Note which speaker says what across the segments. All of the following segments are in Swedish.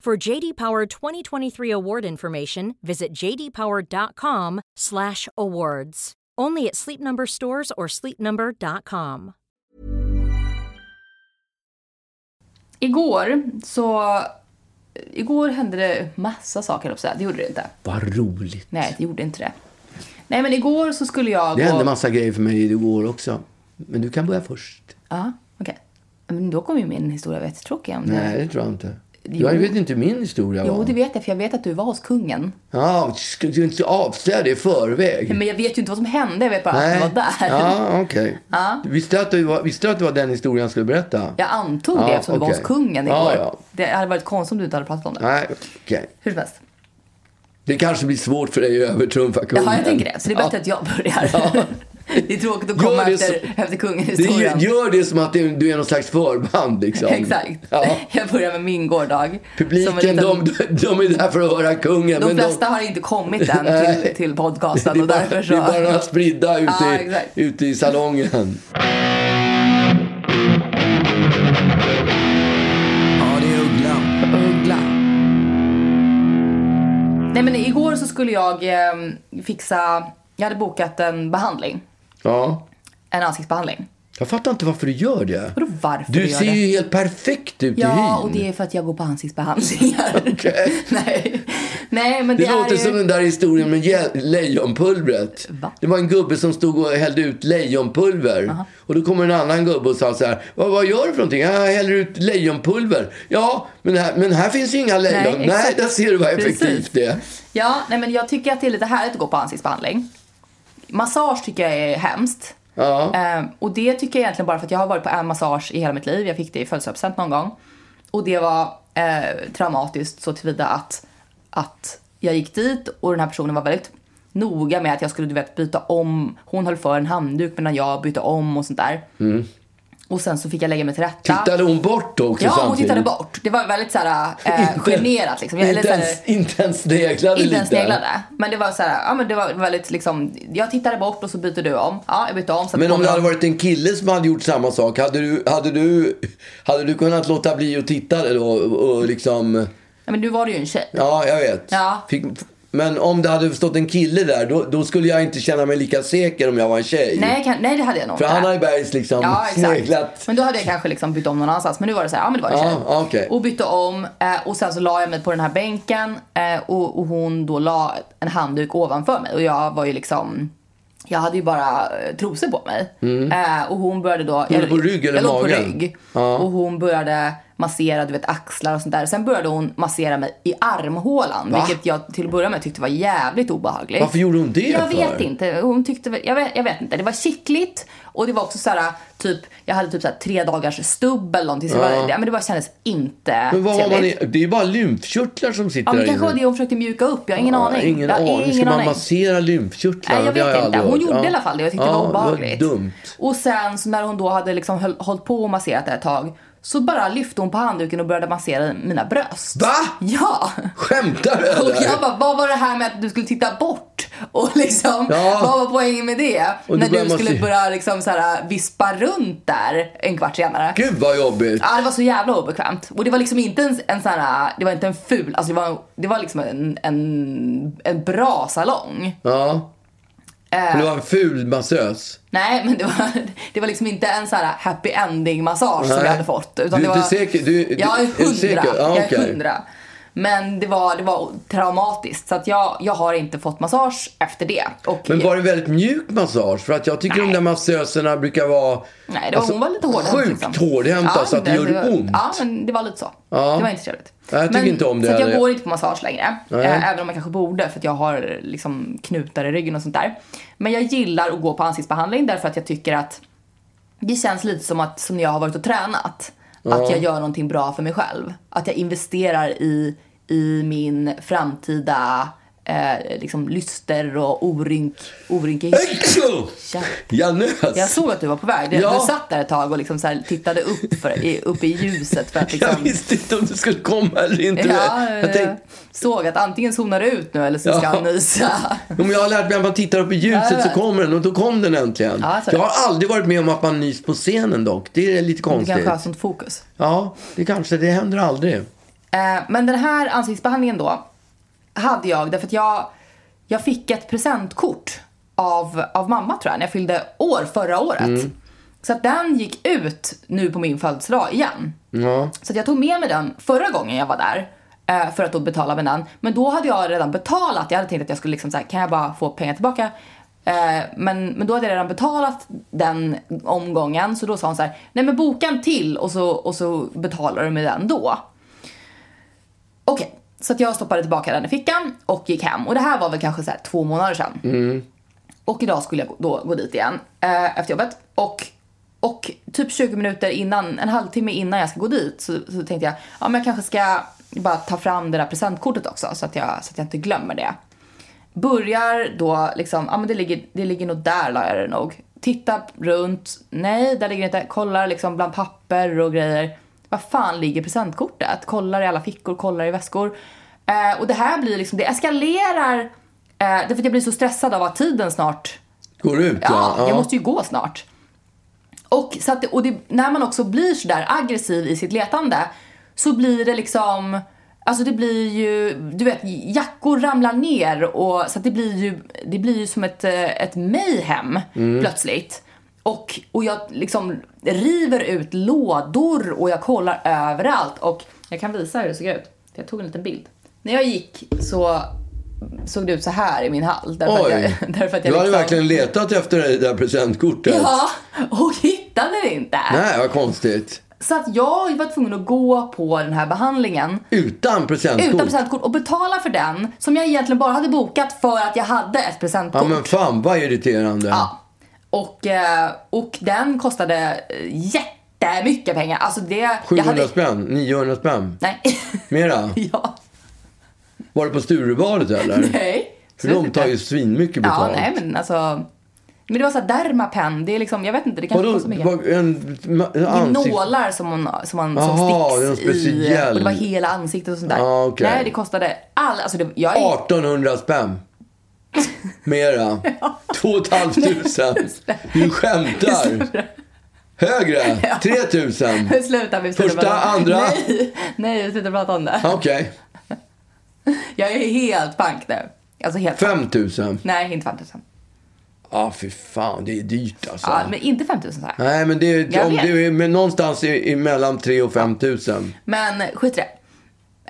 Speaker 1: For JD Power 2023 award information, visit jdpower.com/awards. Only at Sleep Number stores or sleepnumber.com.
Speaker 2: Igår så... Igår hände det massa saker, höll jag på att säga. Det gjorde det inte.
Speaker 3: Vad roligt.
Speaker 2: Nej, det gjorde inte det. Nej, men igår så skulle jag
Speaker 3: Det
Speaker 2: gå...
Speaker 3: hände massa grejer för mig igår också. Men du kan börja först.
Speaker 2: Ja, okej. Men då kommer ju min historia vara jättetråkig om
Speaker 3: Nej, det tror jag inte. Jag vet inte hur min historia
Speaker 2: det. Jo,
Speaker 3: var.
Speaker 2: det vet jag, för jag vet att du var hos kungen.
Speaker 3: Ja, ska du inte avslöja det i förväg?
Speaker 2: Men jag vet ju inte vad som hände, jag vet bara att du var där.
Speaker 3: Mm. Ja, okej. Visste du att det var- visste du att det var den historien jag skulle berätta?
Speaker 2: Jag antog
Speaker 3: Ja,
Speaker 2: det eftersom du var
Speaker 3: okej.
Speaker 2: hos kungen igår.
Speaker 3: Ja, ja.
Speaker 2: Det hade varit konstigt om du inte hade pratat om det.
Speaker 3: Nej, okej.
Speaker 2: Hur som helst.
Speaker 3: Det kanske blir svårt för dig att övertrumfa kungen.
Speaker 2: Ja, jag tänker det. Så det är bättre att jag börjar. Det är tråkigt att komma
Speaker 3: Gör det
Speaker 2: efter,
Speaker 3: så-
Speaker 2: efter
Speaker 3: Det gör,
Speaker 2: kungen-historien.
Speaker 3: gör det som att det- du är någon slags förband liksom.
Speaker 2: Exakt.
Speaker 3: Ja.
Speaker 2: Jag börjar med min gårdag.
Speaker 3: Publiken,
Speaker 2: Som en liten-
Speaker 3: de, de är där för att höra kungen.
Speaker 2: De
Speaker 3: men
Speaker 2: flesta har inte kommit än till,
Speaker 3: Nej.
Speaker 2: till
Speaker 3: det
Speaker 2: podcasten
Speaker 3: är
Speaker 2: och
Speaker 3: bara-
Speaker 2: därför
Speaker 3: Det är bara
Speaker 2: så...
Speaker 3: några spridda ute,
Speaker 2: Ja,
Speaker 3: i,
Speaker 2: exakt.
Speaker 3: ute i salongen.
Speaker 4: Ja, det är Ugglan.
Speaker 2: Uggla. Nej men igår så skulle jag eh, fixa... Jag hade bokat en behandling.
Speaker 3: Ja.
Speaker 2: En ansiktsbehandling.
Speaker 3: Jag fattar inte varför du gör det.
Speaker 2: Vadå varför
Speaker 3: Du
Speaker 2: jag gör
Speaker 3: ser
Speaker 2: det?
Speaker 3: ju helt perfekt ut i
Speaker 2: Ja,
Speaker 3: hyn.
Speaker 2: och det är för att jag går på ansiktsbehandlingar.
Speaker 3: Okej.
Speaker 2: Nej. Nej, men det,
Speaker 3: Det,
Speaker 2: är
Speaker 3: låter
Speaker 2: ju...
Speaker 3: som den där historien med ge- lejonpulvret.
Speaker 2: Va?
Speaker 3: Det var en gubbe som stod och hällde ut lejonpulver. Och då kommer en annan gubbe och sa så här. Vad, vad gör du för någonting? "Ja, Jag häller ut lejonpulver. Ja, men här, men här finns ju inga lejon. Nej,
Speaker 2: exakt.
Speaker 3: där ser du vad
Speaker 2: Precis.
Speaker 3: effektivt det är.
Speaker 2: Ja, nej men jag tycker att det är lite härligt att gå på ansiktsbehandling. Massage tycker jag är hemskt.
Speaker 3: Ja.
Speaker 2: Ehm, och det tycker jag egentligen bara för att jag har varit på en massage i hela mitt liv. Jag fick det i födelsedagspresent någon gång. Och det var eh, traumatiskt så tillvida att, att jag gick dit och den här personen var väldigt noga med att jag skulle du vet, byta om. Hon höll för en handduk medan jag bytte om och sånt där. Och sen så fick jag lägga mig till rätta.
Speaker 3: Mm. Tittade hon bort också
Speaker 2: Ja, hon
Speaker 3: samtidigt?
Speaker 2: tittade bort. Det var väldigt såhär, eh,
Speaker 3: Inte-
Speaker 2: generat liksom. Jag- eller
Speaker 3: Inte
Speaker 2: såhär-
Speaker 3: ens, inte ens sneglade
Speaker 2: inte ens
Speaker 3: lite?
Speaker 2: sneglade. Men det var så här, ja men det var väldigt liksom, jag tittade bort och så byter du om. Ja, jag bytte om. Så att
Speaker 3: Men om
Speaker 2: kommer
Speaker 3: det hade
Speaker 2: någon-
Speaker 3: varit en kille som hade gjort samma sak, hade du, hade du, hade du kunnat låta bli att titta då? Och, och liksom...
Speaker 2: Ja, men nu var det ju en tjej.
Speaker 3: Ja, jag vet.
Speaker 2: Ja.
Speaker 3: Fick, men om det hade stått en kille där, då, då skulle jag inte känna mig lika säker om jag var en tjej.
Speaker 2: Nej, kan, nej det hade jag nog
Speaker 3: För
Speaker 2: inte.
Speaker 3: han har ju bergs liksom
Speaker 2: Ja, exakt.
Speaker 3: sneglat.
Speaker 2: Men då hade jag kanske liksom bytt om någon annanstans. Men nu var det så här, ja men det var en
Speaker 3: Ja,
Speaker 2: tjej.
Speaker 3: okej.
Speaker 2: Och bytte om eh, och sen så la jag mig på den här bänken eh, och, och hon då la en handduk ovanför mig och jag var ju liksom jag hade ju bara eh, trosor på mig. Eh, och hon började då...
Speaker 3: låg Mm. på rygg eller
Speaker 2: jag låg på
Speaker 3: magen?
Speaker 2: rygg.
Speaker 3: Ja.
Speaker 2: Och hon började massera du vet, axlar och sånt där. Sen började hon massera mig i armhålan.
Speaker 3: Va?
Speaker 2: Vilket jag till att börja med tyckte var jävligt obehagligt.
Speaker 3: Varför gjorde hon det
Speaker 2: Jag
Speaker 3: för?
Speaker 2: vet inte. Hon tyckte väl- jag vet, jag vet inte. Det var kittligt och det var också så här typ jag hade typ så här tre dagars stubb eller någonting. Så det, var, ja, men det bara kändes inte
Speaker 3: Men vad har man i,
Speaker 2: trevligt.
Speaker 3: det är ju bara lymfkörtlar som sitter
Speaker 2: Ja, men det
Speaker 3: där
Speaker 2: kanske var
Speaker 3: inne.
Speaker 2: det hon försökte mjuka upp. Jag har ingen
Speaker 3: Ja,
Speaker 2: aning.
Speaker 3: Ingen
Speaker 2: jag har
Speaker 3: aning. Ska
Speaker 2: ingen
Speaker 3: man
Speaker 2: aning.
Speaker 3: massera lymfkörtlar?
Speaker 2: Nej, jag
Speaker 3: Det har
Speaker 2: vet inte.
Speaker 3: aldrig
Speaker 2: Hon
Speaker 3: hört.
Speaker 2: gjorde
Speaker 3: Ja.
Speaker 2: i alla fall det. Jag tyckte
Speaker 3: ja,
Speaker 2: det var obehagligt.
Speaker 3: Det var dumt.
Speaker 2: Och sen så när hon då hade liksom höll, hållit på och masserat det ett tag så bara lyfte hon på handduken och började massera mina bröst.
Speaker 3: Va?
Speaker 2: Ja!
Speaker 3: Skämtar du
Speaker 2: Och
Speaker 3: eller?
Speaker 2: jag bara, vad var det här med att du skulle titta bort? Och liksom,
Speaker 3: Ja.
Speaker 2: vad var poängen med det?
Speaker 3: Och
Speaker 2: När
Speaker 3: då börjar
Speaker 2: du
Speaker 3: man
Speaker 2: skulle
Speaker 3: se-
Speaker 2: börja liksom så här, vispa runt där en kvart senare.
Speaker 3: Gud vad jobbigt.
Speaker 2: Ja, det var så jävla obekvämt. Och det var liksom inte en, en sån här, äh, det var inte en ful, alltså det var, det var liksom en, en, en bra salong.
Speaker 3: Ja.
Speaker 2: Eh.
Speaker 3: Men det var en ful massös.
Speaker 2: Nej, men det var, det var liksom inte en sån här happy ending massage som
Speaker 3: Nej.
Speaker 2: jag hade fått. Utan
Speaker 3: Du-
Speaker 2: det var,
Speaker 3: du är säker? Du- du-
Speaker 2: jag är
Speaker 3: är du
Speaker 2: hundra.
Speaker 3: säker? Ja,
Speaker 2: jag är
Speaker 3: okej.
Speaker 2: hundra. Men det var, det var traumatiskt. Så att jag, jag har inte fått massage efter det. Och
Speaker 3: Men var det väldigt mjuk massage? För att jag tycker de där massöserna brukar vara
Speaker 2: Nej, det var, hon var lite hårdhänt.
Speaker 3: Alltså,
Speaker 2: liksom.
Speaker 3: sjukt hårdhänta så att det gör
Speaker 2: var-
Speaker 3: ont.
Speaker 2: Ja, men det var lite så. Det var inte trevligt.
Speaker 3: Ja, jag tycker
Speaker 2: men,
Speaker 3: inte om det
Speaker 2: Så att jag
Speaker 3: heller.
Speaker 2: går inte på massage längre. Eh, även om jag kanske borde för att jag har liksom knutar i ryggen och sånt där. Men jag gillar att gå på ansiktsbehandling därför att jag tycker att det känns lite som att som när jag har varit och tränat. Att jag gör någonting bra för mig själv. Att jag investerar i, i min framtida eh, liksom lyster och orynk, orynkig...
Speaker 3: Jag nös!
Speaker 2: Jag såg att du var på väg. Du,
Speaker 3: Ja.
Speaker 2: du satt där ett tag och liksom så här tittade upp, för, i, upp i ljuset för att
Speaker 3: Jag
Speaker 2: liksom...
Speaker 3: visste inte om du skulle komma eller inte.
Speaker 2: Ja,
Speaker 3: jag tänkte,
Speaker 2: såg att antingen zonar du ut nu eller så ska
Speaker 3: Ja.
Speaker 2: han nysa.
Speaker 3: om jag har lärt mig att man tittar upp i
Speaker 2: Ja,
Speaker 3: ljuset
Speaker 2: ja.
Speaker 3: så kommer den och då kom den äntligen.
Speaker 2: Ja, så är
Speaker 3: jag
Speaker 2: det.
Speaker 3: har aldrig varit med om att man nys på scenen dock. Det är lite
Speaker 2: Du
Speaker 3: konstigt.
Speaker 2: kanske har sånt fokus.
Speaker 3: Ja, det kanske. Det händer aldrig.
Speaker 2: Eh, men den här ansiktsbehandlingen då hade jag därför att jag, jag fick ett presentkort av, av mamma tror jag när jag fyllde år förra året. Så att den gick ut nu på min födelsedag igen.
Speaker 3: Ja.
Speaker 2: Så att jag tog med mig den förra gången jag var där. eh, För att då betala med den. Men då hade jag redan betalat. Jag hade tänkt att jag skulle liksom så här, kan jag bara få pengar tillbaka? Eh, Men, men då hade jag redan betalat den omgången. Så då sa hon så här, nej men boka en till och så, och så betalar du med den då. Okej, så att jag stoppade tillbaka den i fickan och gick hem. Och det här var väl kanske så här två månader sedan. Och idag skulle jag gå- då gå dit igen eh, efter jobbet. Och, och typ 20 minuter innan, en halvtimme innan jag ska gå dit så, så tänkte jag, ja men jag kanske ska bara ta fram det där presentkortet också så att jag, så att jag inte glömmer det. Börjar då liksom, ja men det ligger, det ligger nog där la jag det nog. Tittar runt, nej där ligger det inte. Kollar liksom bland papper och grejer. Vad fan ligger presentkortet? Kollar i alla fickor, kollar i väskor. Eh, och det här blir liksom, det eskalerar. Eh, därför att jag blir så stressad av att tiden snart
Speaker 3: Går ut
Speaker 2: Ja,
Speaker 3: ja.
Speaker 2: jag måste ju gå snart. Och, så att, och det, när man också blir sådär aggressiv i sitt letande så blir det liksom, alltså det blir ju, du vet jackor ramlar ner och så att det blir ju, det blir ju som ett, eh, ett mayhem
Speaker 3: Mm.
Speaker 2: plötsligt. Och, och jag liksom river ut lådor och jag kollar överallt och jag kan visa hur det såg ut. Jag tog en liten bild. När jag gick så såg det ut så här i min hall. Därför att
Speaker 3: Oj,
Speaker 2: jag, därför att jag
Speaker 3: du hade
Speaker 2: liksom...
Speaker 3: verkligen letat efter det där presentkortet.
Speaker 2: Ja, och hittade det inte.
Speaker 3: Nej, vad konstigt.
Speaker 2: Så att jag var tvungen att gå på den här behandlingen
Speaker 3: Utan presentkort.
Speaker 2: utan presentkort och betala för den som jag egentligen bara hade bokat för att jag hade ett presentkort.
Speaker 3: Ja, men fan vad irriterande.
Speaker 2: Ja. Och, eh, och den kostade eh, jättemycket pengar. Alltså det... jag hade-
Speaker 3: 700 spänn, 900 spänn.
Speaker 2: Nej.
Speaker 3: Mera?
Speaker 2: ja.
Speaker 3: Var det på Sturebadet eller?
Speaker 2: Nej.
Speaker 3: För de
Speaker 2: Absolut
Speaker 3: tar ju
Speaker 2: inte.
Speaker 3: svinmycket
Speaker 2: Ja,
Speaker 3: betalt.
Speaker 2: nej men alltså. Men det var såhär dermapen, det är liksom, jag vet inte, det kanske
Speaker 3: Vadå?
Speaker 2: var så mycket.
Speaker 3: Vad- En ma-
Speaker 2: Det är
Speaker 3: ansikt...
Speaker 2: nålar som, hon, som, man, som
Speaker 3: Jaha, det är en
Speaker 2: sticks i.
Speaker 3: speciell.
Speaker 2: Och det var hela ansiktet och sånt där.
Speaker 3: Ja, okej.
Speaker 2: Nej, det kostade all... Alltså det, jag är...
Speaker 3: 1800 spänn. Mera. 2 500. Du skämtar. Högre. 3000.
Speaker 2: Sluta, vi slutar
Speaker 3: Första,
Speaker 2: prata om-
Speaker 3: andra.
Speaker 2: Nej, nej, vi slutar prata om det.
Speaker 3: Okej.
Speaker 2: Jag är helt pank nu. Alltså helt pank.
Speaker 3: 5000.
Speaker 2: Nej, inte 5000.
Speaker 3: Ja, fy fan. Det är dyrt alltså.
Speaker 2: Ja, men inte 5000 så här.
Speaker 3: Nej, men det är,
Speaker 2: Jag
Speaker 3: om
Speaker 2: vet.
Speaker 3: det är men någonstans i, i mellan 3 och 5000.
Speaker 2: Men skit i det.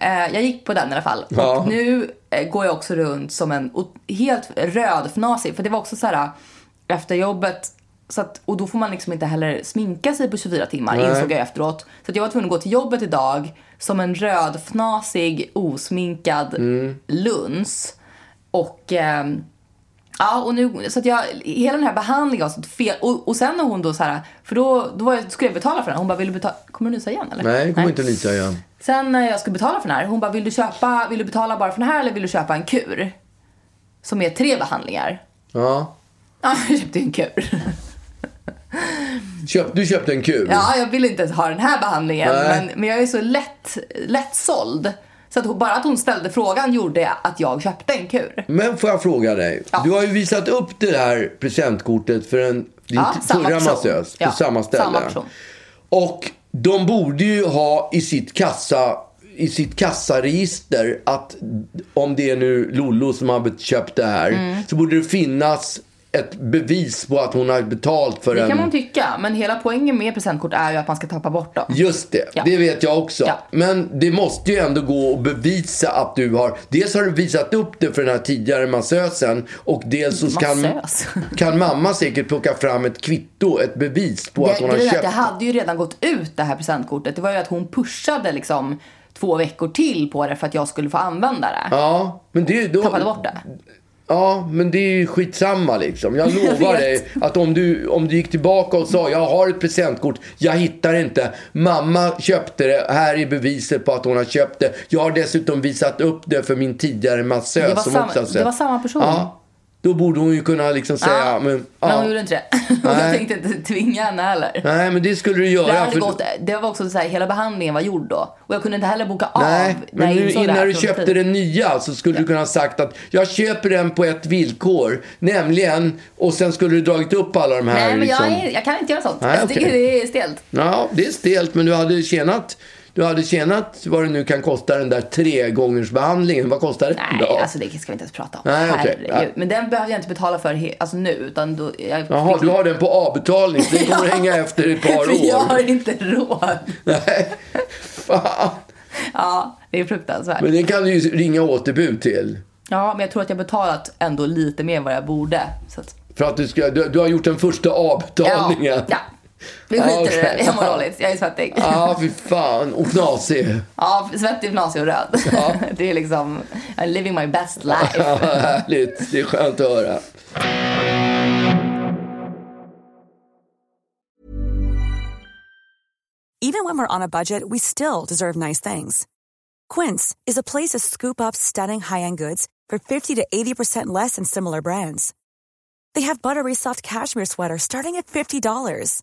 Speaker 2: Eh, jag gick på den i alla fall.
Speaker 3: Ja.
Speaker 2: Och nu eh, går jag också runt som en o- helt rödfnasig. För det var också så här eh, efter jobbet. Så att, och då får man liksom inte heller sminka sig på 24 timmar
Speaker 3: Nej.
Speaker 2: insåg jag efteråt. Så att jag var tvungen att gå till jobbet idag som en rödfnasig osminkad
Speaker 3: Mm.
Speaker 2: luns. Och ehm, Ja, och nu, så att jag, hela den här behandlingen var så fel. Och, och sen när hon då så här, för då, då var jag, skulle jag betala för den. Hon bara, vill du betala? Kommer du nysa igen eller?
Speaker 3: Nej, det kommer inte nysa igen.
Speaker 2: Sen när jag skulle betala för den här, hon bara, vill du, köpa, vill du betala bara för den här eller vill du köpa en kur? Som är tre behandlingar.
Speaker 3: Ja.
Speaker 2: Ja, jag köpte ju en kur.
Speaker 3: Mm. Köp, du köpte en kul.
Speaker 2: Ja, jag vill inte ens ha den här behandlingen.
Speaker 3: Nej.
Speaker 2: Men, men jag är så lätt, lätt såld. Så att hon, bara att hon ställde frågan gjorde att jag köpte en kur.
Speaker 3: Men får jag fråga dig?
Speaker 2: Ja.
Speaker 3: Du har ju visat upp det här presentkortet för en, din
Speaker 2: Ja, samma
Speaker 3: förra
Speaker 2: person.
Speaker 3: massös på
Speaker 2: Ja,
Speaker 3: samma ställe.
Speaker 2: samma person.
Speaker 3: Och de borde ju ha i sitt kassa i sitt kassaregister
Speaker 2: Mm.
Speaker 3: att om det är nu Lollo som har köpt det här så borde det finnas ett bevis på att hon har betalt för
Speaker 2: Det
Speaker 3: en...
Speaker 2: kan man tycka, men hela poängen med presentkort är ju att man ska tappa bort dem.
Speaker 3: Just det,
Speaker 2: Ja.
Speaker 3: det vet jag också.
Speaker 2: Ja.
Speaker 3: Men det måste ju ändå gå att bevisa att du har... Dels har du visat upp det för den här tidigare massösen och dels så kan,
Speaker 2: Massös.
Speaker 3: kan mamma säkert plocka fram ett kvitto, ett bevis på att hon har
Speaker 2: grejen är
Speaker 3: köpt.
Speaker 2: att det hade ju redan gått ut det här presentkortet. Det var ju att hon pushade liksom två veckor till på det för att jag skulle få använda det.
Speaker 3: Ja, men det, då,
Speaker 2: Tappade bort det.
Speaker 3: Ja, men det är ju skitsamma liksom. Jag lovar
Speaker 2: vet.
Speaker 3: dig att om du, om du gick tillbaka och sa jag har ett presentkort, jag hittar inte. Mamma köpte det, här är beviset på att hon har köpt det. Jag har dessutom visat upp det för min tidigare massös
Speaker 2: Det var
Speaker 3: som
Speaker 2: samma-
Speaker 3: också har
Speaker 2: det
Speaker 3: sett."
Speaker 2: var samma person.
Speaker 3: Ja, då borde hon ju kunna liksom säga.
Speaker 2: Ja,
Speaker 3: Men,
Speaker 2: Men
Speaker 3: ja.
Speaker 2: hon gjorde inte det. Och jag
Speaker 3: Nej.
Speaker 2: tänkte inte tvinga henne heller.
Speaker 3: Nej, men det skulle du göra.
Speaker 2: Det, hade
Speaker 3: för-
Speaker 2: gått, det var också så här, hela behandlingen var gjord då. Och jag kunde inte heller boka
Speaker 3: Nej,
Speaker 2: av.
Speaker 3: men
Speaker 2: jag
Speaker 3: nu,
Speaker 2: insåg det här
Speaker 3: innan du
Speaker 2: från
Speaker 3: köpte
Speaker 2: tid.
Speaker 3: den nya så skulle du kunna ha sagt att jag köper den på ett villkor, nämligen, och sen skulle du dragit upp alla de här.
Speaker 2: Nej, men
Speaker 3: liksom.
Speaker 2: jag, är, jag kan inte göra sånt.
Speaker 3: Nej,
Speaker 2: jag tycker
Speaker 3: okej.
Speaker 2: det är stelt.
Speaker 3: Ja, det är stelt, men du hade tjänat, du hade tjänat vad det nu kan kosta den där tre gångers behandlingen. Vad kostar det?
Speaker 2: Nej,
Speaker 3: då?
Speaker 2: alltså det ska vi inte ens prata om.
Speaker 3: Nej, okej.
Speaker 2: Herregud.
Speaker 3: Nej.
Speaker 2: Men den behöver jag inte betala för he- alltså, nu. Utan då, jag
Speaker 3: Jaha, du har den på avbetalning. så Den kommer hänga efter ett par
Speaker 2: För jag har
Speaker 3: år.
Speaker 2: inte råd.
Speaker 3: Nej, fan.
Speaker 2: Ja, det är fruktansvärt.
Speaker 3: Men den kan du ju ringa återbud till.
Speaker 2: Ja, men jag tror att jag betalat ändå lite mer än vad jag borde. Så att,
Speaker 3: För att du, ska, du, du har gjort den första
Speaker 2: ja,
Speaker 3: avbetalningen.
Speaker 2: ja. Vi skiter i
Speaker 3: Okej.
Speaker 2: det. Jag mår dåligt. Jag är svettig.
Speaker 3: Ja, fy fan. Och knasig.
Speaker 2: Ja, svettig, fnasig och röd.
Speaker 3: Ja.
Speaker 2: Det är liksom, I'm living my best life.
Speaker 3: Ja, härligt. Det är skönt att höra.
Speaker 5: Even when we're on a budget, we still deserve nice things. Quince is a place to scoop up stunning high-end goods for 50 to 80% less than similar brands. They have buttery soft cashmere sweaters starting at $50,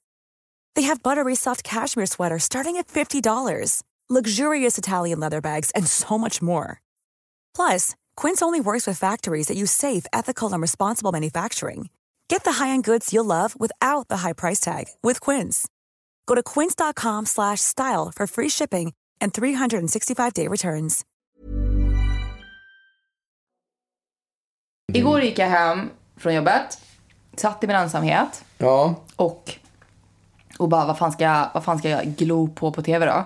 Speaker 5: They have buttery soft cashmere sweaters starting at $50, luxurious Italian leather bags, and so much more. Plus, Quince only works with factories that use safe, ethical, and responsible manufacturing. Get the high-end goods you'll love without the high price tag with Quince. Go to quince.com slash style for free shipping and 365-day returns.
Speaker 2: Igår gick jag hem från jobbet, satt i min ensamhet
Speaker 3: Ja.
Speaker 2: och, och bara vad fan, ska jag, vad fan ska jag glo på på tv då?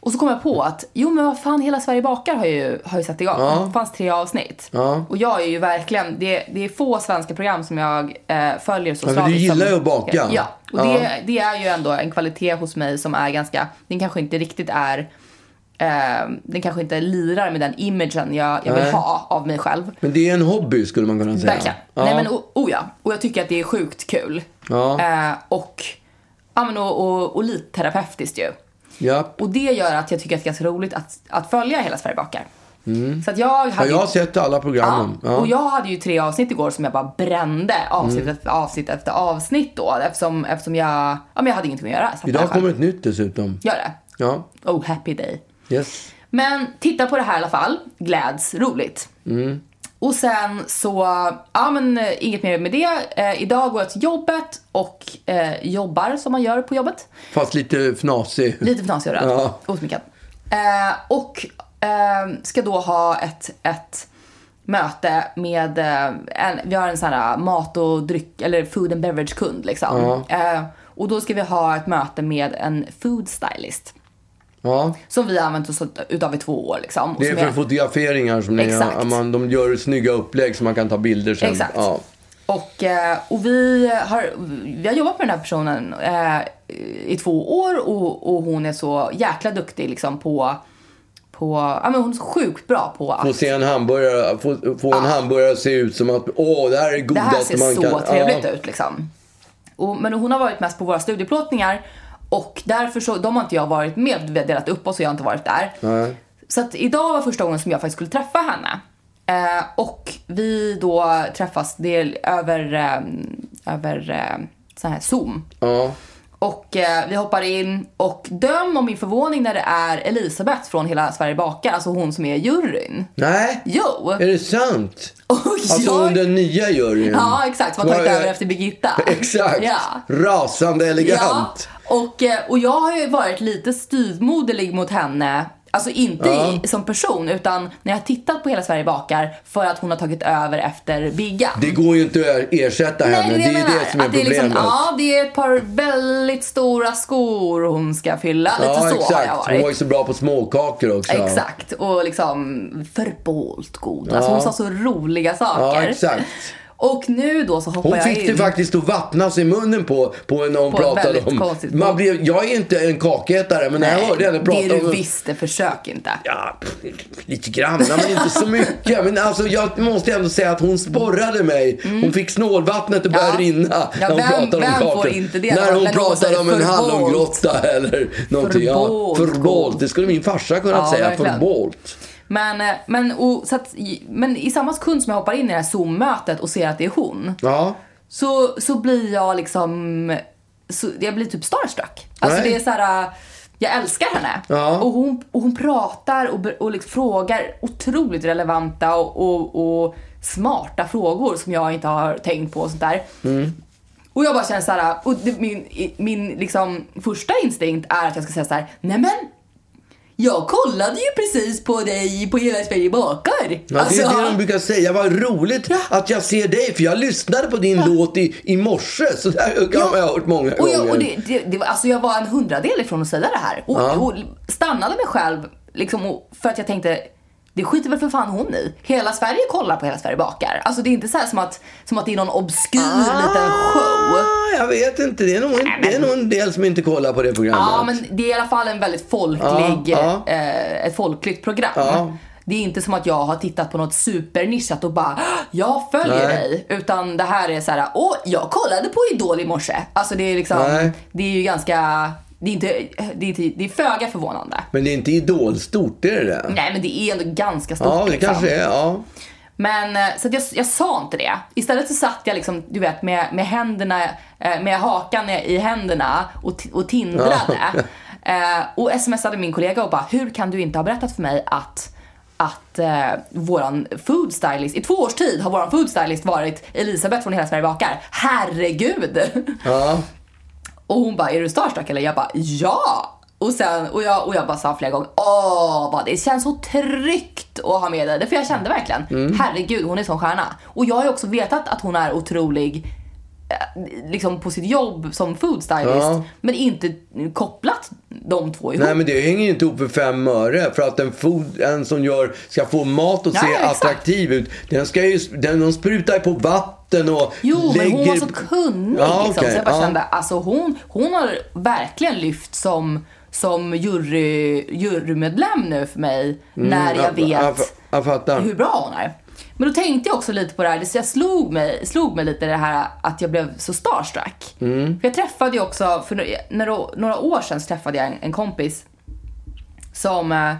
Speaker 2: Och så kom jag på att jo men vad fan hela Sverige bakar har ju, har ju satt igång. Det fanns tre avsnitt.
Speaker 3: Ja.
Speaker 2: Och jag är ju verkligen, det, det är få svenska program som jag eh, följer så
Speaker 3: Ja, för du
Speaker 2: slaviskt som-
Speaker 3: gillar ju att baka.
Speaker 2: Ja, och
Speaker 3: Ja.
Speaker 2: Det, det är ju ändå en kvalitet hos mig som är ganska, den kanske inte riktigt är eh, den kanske inte lirar med den imagen jag, jag
Speaker 3: Nej.
Speaker 2: vill ha av mig själv.
Speaker 3: Men det är en hobby skulle man kunna säga.
Speaker 2: Verkligen.
Speaker 3: Ja.
Speaker 2: Nej men o- oh ja. Och jag tycker att det är sjukt kul.
Speaker 3: Ja.
Speaker 2: Eh, och, ja, men, och, och, och lite terapeutiskt ju.
Speaker 3: ja.
Speaker 2: Och det gör att jag tycker att det är ganska roligt att, att följa Hela Sverige bakar. Så att jag
Speaker 3: Mm. Ja,
Speaker 2: hade
Speaker 3: jag har sett alla programmen.
Speaker 2: Ja, och jag hade ju tre avsnitt igår som jag bara brände avsnitt
Speaker 3: Mm.
Speaker 2: efter avsnitt efter avsnitt då. Eftersom, eftersom jag, ja men jag hade ingenting att göra. Satt där
Speaker 3: Idag
Speaker 2: själv.
Speaker 3: kommer ett nytt dessutom.
Speaker 2: Gör det.
Speaker 3: Ja.
Speaker 2: Oh, happy day.
Speaker 3: Yes.
Speaker 2: Men titta på det här i alla fall. Gläds, roligt.
Speaker 3: Mm.
Speaker 2: Och sen så, ja men eh, inget mer med det. Eh, idag går jag till jobbet och eh, jobbar som man gör på jobbet.
Speaker 3: Fast lite fnasig.
Speaker 2: Lite fnasig och röd.
Speaker 3: Ja.
Speaker 2: Osminkad. Eh, och eh, ska då ha ett, ett möte med, eh, en, vi har en sån här mat och dryck, eller food and beverage kund liksom. Eh, och då ska vi ha ett möte med en food stylist.
Speaker 3: Ja.
Speaker 2: Som vi har använt oss utav i två år liksom. Och
Speaker 3: Det är
Speaker 2: som
Speaker 3: för fotograferingar som ni,
Speaker 2: Exakt.
Speaker 3: ja, man, de gör snygga upplägg så man kan ta bilder sen.
Speaker 2: Exakt.
Speaker 3: Ja.
Speaker 2: Och, eh, och vi, har, vi har jobbat med den här personen eh, i två år och, och hon är så jäkla duktig liksom på, på ja, men hon är så sjukt bra på att
Speaker 3: Få se en hamburgare, få, få en hamburgare se ut som att åh, det här är
Speaker 2: Ah. det här
Speaker 3: godast
Speaker 2: ser
Speaker 3: man
Speaker 2: så
Speaker 3: kan.
Speaker 2: trevligt
Speaker 3: ja.
Speaker 2: ut liksom. Och, men hon har varit mest på våra studieplåtningar och därför så, de har inte jag varit med, vi har delat upp oss och jag har inte varit där.
Speaker 3: Nej.
Speaker 2: Så att idag var första gången som jag faktiskt skulle träffa henne. Eh, och vi då träffas, det är över, eh, över eh, så här zoom.
Speaker 3: Ja.
Speaker 2: Och eh, vi hoppar in och döm om min förvåning när det är Elisabeth från Hela Sverige bakar, alltså hon som är juryn.
Speaker 3: Nej,
Speaker 2: Jo!
Speaker 3: är det sant?
Speaker 2: Och
Speaker 3: Alltså
Speaker 2: jag...
Speaker 3: den nya juryn.
Speaker 2: Ja, exakt. Man har tagit
Speaker 3: Mm. Vad är-
Speaker 2: över efter Birgitta.
Speaker 3: Exakt.
Speaker 2: Ja.
Speaker 3: Rasande
Speaker 2: Ja,
Speaker 3: elegant.
Speaker 2: och, eh, och jag har ju varit lite styvmoderlig mot henne. Alltså inte i, som person, utan när jag har tittat på Hela Sverige bakar för att hon har tagit över efter Biggan.
Speaker 3: Det går ju inte att ersätta henne. Det är ju det som är
Speaker 2: att det är
Speaker 3: problemet.
Speaker 2: liksom, ja, det är ett par väldigt stora skor hon ska fylla. Lite
Speaker 3: Ja,
Speaker 2: så har jag
Speaker 3: exakt. Hon var ju
Speaker 2: varit.
Speaker 3: så bra på småkakor också.
Speaker 2: Exakt, och liksom förbålt god. Alltså
Speaker 3: Ja.
Speaker 2: hon sa så roliga saker.
Speaker 3: Ja, exakt.
Speaker 2: Och nu då så hoppar
Speaker 3: Hon
Speaker 2: jag in.
Speaker 3: fick det faktiskt att vattnas i munnen på, på en när hon
Speaker 2: På ett
Speaker 3: pratade
Speaker 2: väldigt
Speaker 3: om...
Speaker 2: konstigt
Speaker 3: Man
Speaker 2: sätt.
Speaker 3: blev, jag är inte en kakätare, men när jag
Speaker 2: Nej,
Speaker 3: hörde henne prata
Speaker 2: Det är
Speaker 3: om...
Speaker 2: du visst, det försök inte.
Speaker 3: Ja, pff, lite grann, men inte så mycket. Men alltså, jag måste ändå säga att hon sporrade mig. Hon fick snålvattnet att börja
Speaker 2: Mm. Ja.
Speaker 3: rinna
Speaker 2: Ja,
Speaker 3: när hon
Speaker 2: vem-
Speaker 3: pratade om
Speaker 2: vem får
Speaker 3: kakor.
Speaker 2: inte det?
Speaker 3: När hon
Speaker 2: När någon
Speaker 3: pratade
Speaker 2: säger
Speaker 3: om en
Speaker 2: förbolt.
Speaker 3: hallongrotta eller någonting. Ja,
Speaker 2: Förbolt.
Speaker 3: förbolt. Det skulle min farsa kunnat
Speaker 2: Ja,
Speaker 3: säga.
Speaker 2: verkligen.
Speaker 3: Förbolt.
Speaker 2: Men, eh, men, och, så att, i- men i samma sekund som jag hoppar in i det här Zoom-mötet och ser att det är hon,
Speaker 3: Ja.
Speaker 2: så, så blir jag liksom... Så, jag blir typ starstruck. Alltså
Speaker 3: Nej.
Speaker 2: det är så här... eh, Jag älskar henne.
Speaker 3: Ja.
Speaker 2: Och, hon, och hon pratar och, ber- och liksom frågar otroligt relevanta och, och, och smarta frågor som jag inte har tänkt på och sånt där.
Speaker 3: Mm.
Speaker 2: Och jag bara känner så här, och det, min, i- min liksom första instinkt är att jag ska säga så här, nej men jag kollade ju precis på dig på Hela Sverige bakar.
Speaker 3: Ja, det
Speaker 2: Alltså,
Speaker 3: är det de brukar säga. Vad roligt att jag ser dig, för jag lyssnade på din låt i, i morse. Så där har jag hört många
Speaker 2: och
Speaker 3: gånger.
Speaker 2: jag, och det, det, det, var- alltså jag var en hundradel ifrån att säga det här. Och, och stannade mig själv liksom, och, för att jag tänkte, det skiter väl för fan hon i. Hela Sverige kollar på Hela Sverige bakar. Alltså det är inte så här som att, som att det är någon obskyr liten show.
Speaker 3: Ah, jag vet inte. Det är, nog, det är nog en del som inte kollar på det programmet.
Speaker 2: Ja, men det är i alla fall en väldigt folklig,
Speaker 3: Ja,
Speaker 2: Eh, ett folkligt program.
Speaker 3: Ja.
Speaker 2: Det är inte som att jag har tittat på något supernischat och bara "Åh, jag följer
Speaker 3: Nej.
Speaker 2: dig. Utan det här är så här, åh jag kollade på Idol i morse. Alltså det är liksom,
Speaker 3: Nej.
Speaker 2: det är ju ganska, det är, inte, det är, inte, det är föga förvånande.
Speaker 3: Men det är inte idolstort, det är det där.
Speaker 2: Nej men det är ändå ganska stort
Speaker 3: Ja, det
Speaker 2: liksom.
Speaker 3: kanske är. Ja.
Speaker 2: Men eh, så att jag, jag sa inte det. Istället så satt jag liksom, du vet, med, med händerna, eh, med hakan i händerna och, ti- och tindrade. Eh, och smsade min kollega och bara, hur kan du inte ha berättat för mig att att eh, våran food stylist, i två års tid har våran food stylist varit Elisabeth från Hela Sverige bakar. Herregud!
Speaker 3: Ja.
Speaker 2: Och hon bara, är du starstruck eller? Jag bara, ja! Och, sen, och, jag, och jag bara sa flera gånger, åh vad det känns så tryggt att ha med dig. För jag kände verkligen,
Speaker 3: Mm.
Speaker 2: herregud hon är sån stjärna. Och jag har ju också vetat att hon är otrolig eh, liksom på sitt jobb som food stylist.
Speaker 3: Ja.
Speaker 2: Men inte kopplat de två ihop.
Speaker 3: Nej, men det hänger ju inte ihop för fem öre. För att en, food, en som gör, ska få mat att
Speaker 2: Ja,
Speaker 3: se
Speaker 2: ja, exakt.
Speaker 3: attraktiv ut, den ska ju, den, de sprutar ju på vatten och
Speaker 2: Jo,
Speaker 3: lägger...
Speaker 2: men hon var så kunnig
Speaker 3: Ja,
Speaker 2: liksom.
Speaker 3: okej,
Speaker 2: Så jag bara
Speaker 3: ja.
Speaker 2: kände, alltså hon, hon har verkligen lyft som, som jury, jurymedlem nu för mig. när jag vet
Speaker 3: Mm, Jag, fa- jag fattar.
Speaker 2: hur bra hon är. Men då tänkte jag också lite på det här, så jag slog mig, slog mig lite det här att jag blev så starstruck.
Speaker 3: Mm.
Speaker 2: För jag träffade ju också, för no- några, några år sedan så träffade jag en, en kompis som, eh,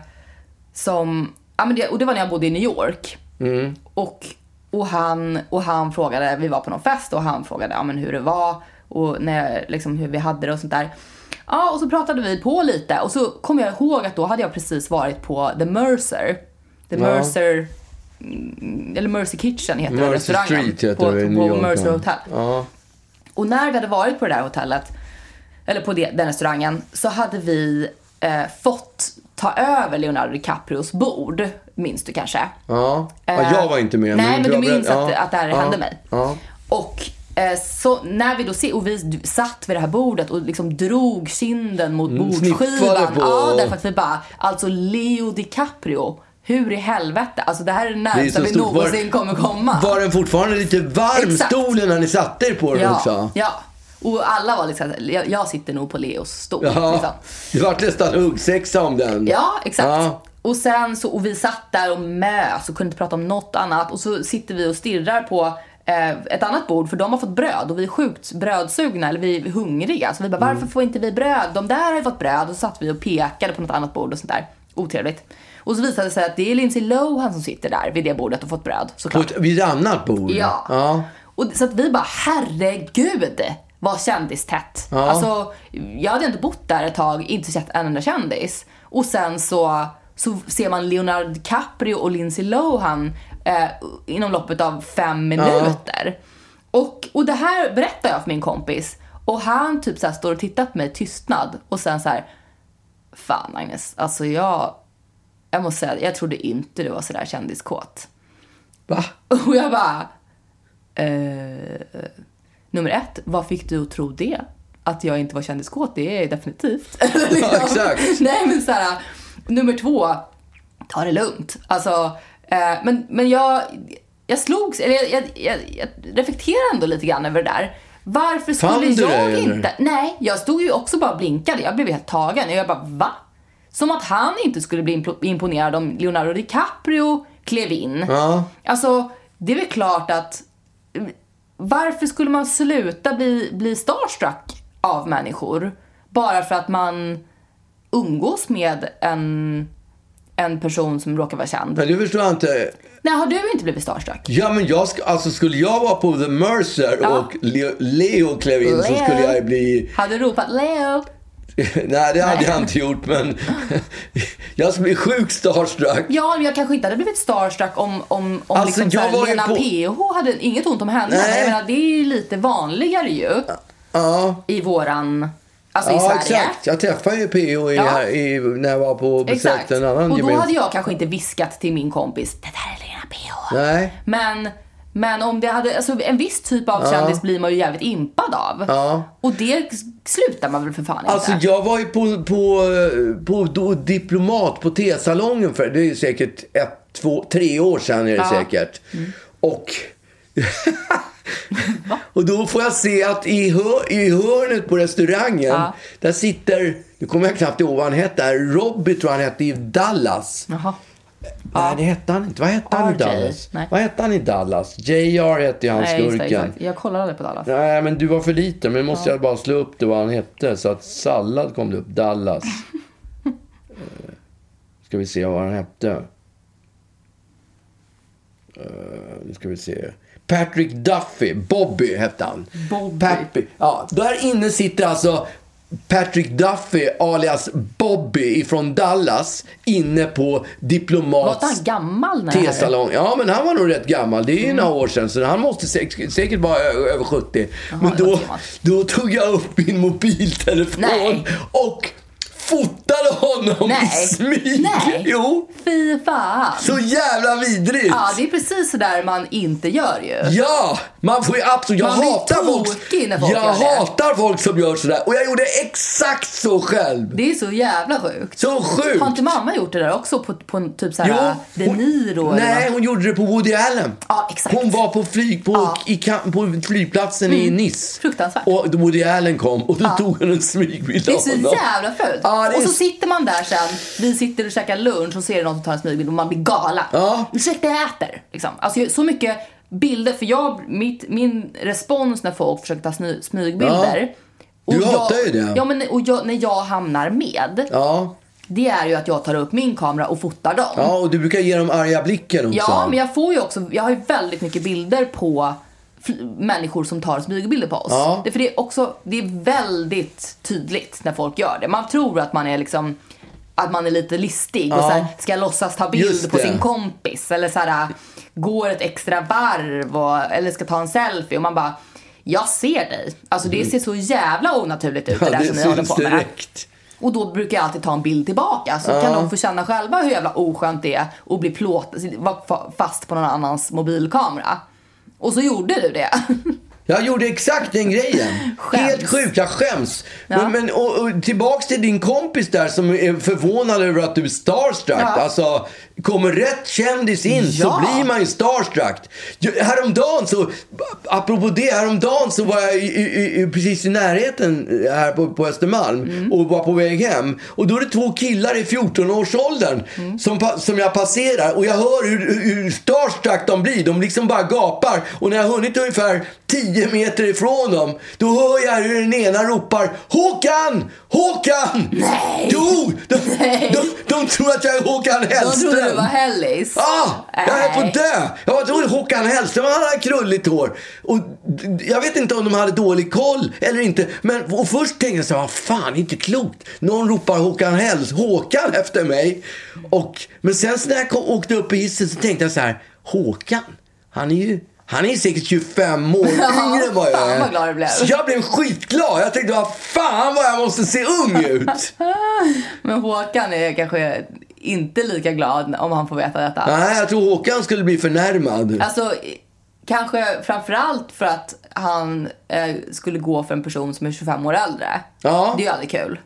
Speaker 2: som ja, men det, och det var när jag bodde i New York.
Speaker 3: Mm.
Speaker 2: Och, och, han, och han frågade, vi var på någon fest och han frågade ja, men hur det var och när, liksom, hur vi hade det och sånt där. Ja, och så pratade vi på lite och så kom jag ihåg att då hade jag precis varit på The Mercer. The Mercer, mm, eller Mercy Kitchen heter det,
Speaker 3: Mercy
Speaker 2: restaurangen.
Speaker 3: Street heter
Speaker 2: på,
Speaker 3: det i New
Speaker 2: på
Speaker 3: York.
Speaker 2: Mercer
Speaker 3: ja.
Speaker 2: Hotel.
Speaker 3: Ja.
Speaker 2: Och när vi hade varit på det där hotellet, eller på det, den restaurangen, så hade vi eh, fått ta över Leonardo DiCaprios bord, minns du kanske?
Speaker 3: Ja. ja, jag var inte med.
Speaker 2: Eh, Nej, men du
Speaker 3: jag
Speaker 2: minns
Speaker 3: berätt-
Speaker 2: att,
Speaker 3: ja,
Speaker 2: att det här
Speaker 3: ja,
Speaker 2: hände mig.
Speaker 3: Ja.
Speaker 2: Och eh, så när vi då se, och vi d- satt vid det här bordet och liksom drog kinden mot
Speaker 3: Mm, sniffade
Speaker 2: bordsskivan.
Speaker 3: på-
Speaker 2: Ja, därför att vi bara, alltså Leo DiCaprio, hur i helvete? Alltså det här är det
Speaker 3: Det är
Speaker 2: närmsta
Speaker 3: så
Speaker 2: vi
Speaker 3: stort. Var-
Speaker 2: någonsin kommer komma.
Speaker 3: Var den fortfarande lite varm,
Speaker 2: Exakt.
Speaker 3: stolen, när ni satte er på den
Speaker 2: ja,
Speaker 3: också?
Speaker 2: ja. Och alla var liksom, jag, jag sitter nog på Leos stol. Liksom.
Speaker 3: Ja, det vart nästan huggsexa om den.
Speaker 2: Ja, exakt.
Speaker 3: Ja.
Speaker 2: Och sen så, och vi satt där och mös och kunde inte prata om något annat. Och så sitter vi och stirrar på eh, ett annat bord för de har fått bröd och vi är sjukt brödsugna eller vi är hungriga. Så vi bara, varför
Speaker 3: Mm.
Speaker 2: får inte vi bröd? De där har ju fått bröd. Och så satt vi och pekade på något annat bord och sånt där. Otrevligt. Och så visade det sig att det är Lindsay Lohan som sitter där vid det bordet och fått bröd
Speaker 3: På
Speaker 2: såklart.
Speaker 3: ett, vid ett annat bord?
Speaker 2: Ja.
Speaker 3: ja.
Speaker 2: Och, så att vi bara, herregud! var kändistätt.
Speaker 3: Ja.
Speaker 2: Alltså, jag hade inte bott där ett tag, inte sett en enda kändis. Och sen så, så ser man Leonardo DiCaprio och Lindsay Lohan eh, inom loppet av fem minuter. Och, och det här berättar jag för min kompis. Och han typ så här står och tittar på mig i tystnad och sen så här Fan Agnes, alltså jag, jag måste säga, jag trodde inte du var sådär kändiskåt.
Speaker 3: Va?
Speaker 2: Och jag bara... Eh, nummer ett, vad fick du att tro det? Att jag inte var kändiskåt, det är definitivt. Eller liksom.
Speaker 3: Ja, exakt.
Speaker 2: Nej men såhär, nummer två, ta det lugnt. Alltså, eh, men, men jag, jag slogs, eller jag, jag, jag, jag reflekterar ändå lite grann över det där. Varför
Speaker 3: Fann
Speaker 2: skulle
Speaker 3: du det,
Speaker 2: jag
Speaker 3: eller?
Speaker 2: inte... Nej, jag stod ju också bara och blinkade. Jag blev helt tagen. Och jag bara, va? Som att han inte skulle bli impl- imponerad om Leonardo DiCaprio klev in.
Speaker 3: Ja.
Speaker 2: Alltså, det är väl klart att... Varför skulle man sluta bli, bli starstruck av människor? Bara för att man umgås med en, en person som råkar vara känd.
Speaker 3: Men du förstår jag inte.
Speaker 2: Nej, har du inte blivit starstruck?
Speaker 3: Ja men jag sk- alltså skulle jag vara på The Mercer
Speaker 2: Ja.
Speaker 3: och Leo, Leo klev in så
Speaker 2: Leo.
Speaker 3: skulle jag bli...
Speaker 2: Hade du ropat Leo?
Speaker 3: Nej det hade jag inte gjort men jag skulle bli sjukt starstruck.
Speaker 2: Ja, men jag kanske inte hade blivit starstruck om, om, om
Speaker 3: Alltså,
Speaker 2: liksom så
Speaker 3: jag var
Speaker 2: här,
Speaker 3: ju
Speaker 2: Lena
Speaker 3: på-
Speaker 2: PH hade inget ont om henne.
Speaker 3: Nej.
Speaker 2: Men Jag menar, det är ju lite vanligare ju
Speaker 3: Ja,
Speaker 2: i våran, alltså i
Speaker 3: ja
Speaker 2: Sverige.
Speaker 3: exakt. Jag träffade ju PO i,
Speaker 2: Ja.
Speaker 3: här, i, när jag var på besök
Speaker 2: Exakt.
Speaker 3: till en annan
Speaker 2: Och då
Speaker 3: gemensam-
Speaker 2: hade jag kanske inte viskat till min kompis, det där är Lena PH.
Speaker 3: Nej.
Speaker 2: Men, men om det hade, alltså en viss typ av kändis blir man ju jävligt impad av.
Speaker 3: Ja.
Speaker 2: Och det s- slutar man väl för fan inte.
Speaker 3: Alltså jag var ju på, på, eh, på, då Diplomat på T-salongen för det är ju säkert ett, två, tre år sedan är det säkert.
Speaker 2: Mm.
Speaker 3: Och, och då får jag se att i, hör, i hörnet på restaurangen
Speaker 2: Ja.
Speaker 3: där sitter, nu kommer jag knappt ihåg vad han hette, här, Robbie tror jag han hette i Dallas.
Speaker 2: Jaha.
Speaker 3: Nej det hette han inte, vad hette han i
Speaker 2: RJ?
Speaker 3: Dallas?
Speaker 2: Nej.
Speaker 3: Vad hette han i Dallas? JR hette ju han
Speaker 2: Nej, just det,
Speaker 3: skurken.
Speaker 2: exakt. Jag kollar aldrig på Dallas.
Speaker 3: Nej, men du var för liten. Men måste jag bara slå upp det vad han hette. Så att sallad kom det upp. Dallas. Eh, ska vi se vad han hette. Eh, Nu ska vi se. Patrick Duffy. Bobby hette han.
Speaker 2: Bobby.
Speaker 3: Pappy. Ja, där inne sitter alltså Patrick Duffy alias Bobby ifrån Dallas inne på
Speaker 2: Var inte
Speaker 3: Diplomats
Speaker 2: han gammal när det Mm. här-
Speaker 3: T-salong. Ja, men han var nog rätt gammal. Det är ju några år sedan, så han måste säkert, säkert vara ö- över 70. men
Speaker 2: det var
Speaker 3: då,
Speaker 2: gammalt.
Speaker 3: då tog jag upp min mobiltelefon
Speaker 2: Nej.
Speaker 3: och fotade honom i
Speaker 2: Nej.
Speaker 3: smyg.
Speaker 2: Nej.
Speaker 3: Jo,
Speaker 2: Fy fan.
Speaker 3: så jävla vidrigt.
Speaker 2: Ja, det är precis sådär man inte gör ju.
Speaker 3: Ja, man får ju absolut... Jag
Speaker 2: Man blir
Speaker 3: hatar folk,
Speaker 2: tokig när folk
Speaker 3: Jag
Speaker 2: gör det.
Speaker 3: hatar folk som gör sådär. Och jag gjorde exakt så själv.
Speaker 2: Det är så jävla sjukt.
Speaker 3: Så sjukt.
Speaker 2: Har inte mamma gjort det där också på, på en typ såhär De
Speaker 3: hon-
Speaker 2: Niro eller
Speaker 3: Nej,
Speaker 2: något?
Speaker 3: hon gjorde det på Woody Allen.
Speaker 2: Ja, exakt. Mm.
Speaker 3: Hon var på, flyg, på, i, kam- på flygplatsen i Nice.
Speaker 2: Fruktansvärt.
Speaker 3: Och Woody Allen kom och då tog hon en smygbild
Speaker 2: Det är
Speaker 3: av
Speaker 2: så
Speaker 3: honom.
Speaker 2: jävla fult.
Speaker 3: Ja, det är
Speaker 2: och så
Speaker 3: s-
Speaker 2: sitter man där sen, vi sitter och käkar lunch och ser någon som tar en smygbild och man blir galen.
Speaker 3: Ja.
Speaker 2: Ursäkta, jag äter. Liksom. Alltså, jag- så mycket bilder, för jag, mitt, min respons när folk försöker ta sny, smygbilder.
Speaker 3: Du
Speaker 2: och
Speaker 3: hatar
Speaker 2: jag,
Speaker 3: ju det.
Speaker 2: Ja, men och jag, när jag hamnar med,
Speaker 3: Ja.
Speaker 2: det är ju att jag tar upp min kamera och fotar dem.
Speaker 3: ja, och du brukar ge dem arga blicken också.
Speaker 2: Ja, men jag får ju också, jag har ju väldigt mycket bilder på fl- människor som tar smygbilder på oss.
Speaker 3: Ja.
Speaker 2: Det, för det är också, det är väldigt tydligt när folk gör det. Man tror att man är liksom att man är lite listig och så här, ska låtsas ta
Speaker 3: Just
Speaker 2: bild på
Speaker 3: det.
Speaker 2: sin kompis eller så här går ett extra varv och, eller ska ta en selfie och man bara jag ser dig. Alltså det ser så jävla onaturligt ut det
Speaker 3: Mm. Ja,
Speaker 2: där som ni håller på med.
Speaker 3: direkt.
Speaker 2: Och då brukar jag alltid ta en bild tillbaka så kan de få känna själva hur jävla oskönt det är att bli plåt, vara fa- fast på någon annans mobilkamera. Och så gjorde du det.
Speaker 3: Jag gjorde exakt den grejen.
Speaker 2: Skäms.
Speaker 3: Helt sjukt, jag skäms.
Speaker 2: Ja.
Speaker 3: Men, men och, och, tillbaks till din kompis där som är förvånad över att du är starstruck.
Speaker 2: Ja.
Speaker 3: Alltså, kommer rätt kändis in så
Speaker 2: Ja.
Speaker 3: blir man ju starstruck. Jag- Häromdagen så, apropå det, häromdagen så var jag i, i, i, precis i närheten eh, här på, på Östermalm
Speaker 2: Mm.
Speaker 3: och var på väg hem. Och då är det två killar i 14-årsåldern
Speaker 2: Mm.
Speaker 3: som, pa- som jag passerar och jag hör hur, hur starstruck de blir. De liksom bara gapar. Och när jag har hunnit ungefär 10 tio meter ifrån dem. Då hör jag hur den ena ropar Håkan! Håkan! Nej! Jo! De, de, de tror att jag är Håkan
Speaker 2: De
Speaker 3: Hellström.
Speaker 2: trodde du var Hellis.
Speaker 3: Ja, Ah, jag höll på
Speaker 2: Nej.
Speaker 3: att dö. Jag var dålig Håkan Hellström, han hade krulligt hår. Och d- jag vet inte om de hade dålig koll eller inte. Men, och först tänkte jag så här, "Vad fan, inte klokt. Någon ropar Håkan Hells, Håkan efter mig. Och, men sen så när jag kom, åkte upp i hissen så tänkte jag så här, Håkan, han är ju han är säkert 25 år
Speaker 2: Ja,
Speaker 3: yngre än vad jag
Speaker 2: fan
Speaker 3: är.
Speaker 2: vad glad du blev.
Speaker 3: Så jag blev skitglad. Jag tänkte, vad fan vad jag måste se ung ut.
Speaker 2: Men Håkan är kanske inte lika glad om han får veta detta.
Speaker 3: Nej, jag tror Håkan skulle bli förnärmad.
Speaker 2: Alltså, i- kanske framförallt för att han eh, skulle gå för en person som är 25 år äldre.
Speaker 3: Ja.
Speaker 2: Det är ju aldrig kul.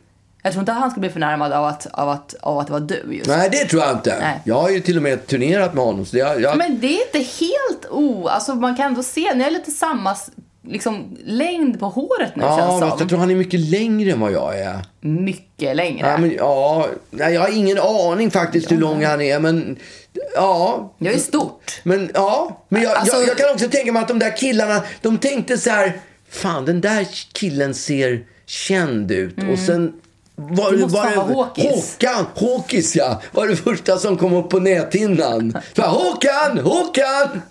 Speaker 2: Jag tror inte att han skulle bli förnärmad av att, av att, av att det var du just.
Speaker 3: Nej, det tror jag inte.
Speaker 2: Nej.
Speaker 3: Jag har ju till och med turnerat med honom. Så jag, jag...
Speaker 2: Men det är inte helt o... Alltså man kan ändå se, ni är lite samma s- liksom, längd på håret nu
Speaker 3: ja,
Speaker 2: känns
Speaker 3: fast
Speaker 2: som.
Speaker 3: jag tror han är mycket längre än vad jag är.
Speaker 2: Mycket längre.
Speaker 3: Ja, men, ja, nej, jag har ingen aning faktiskt hur lång han är, men ja.
Speaker 2: Jag är stort.
Speaker 3: Men ja, men jag,
Speaker 2: Alltså-
Speaker 3: jag, jag kan också tänka mig att de där killarna, de tänkte så här, fan den där killen ser känd ut och sen var,
Speaker 2: Mm. Det måste
Speaker 3: var
Speaker 2: fan
Speaker 3: det,
Speaker 2: vara Håkis.
Speaker 3: Håkan, Håkis ja, var det första som kom upp på näthinnan. Så här, Håkan, Håkan!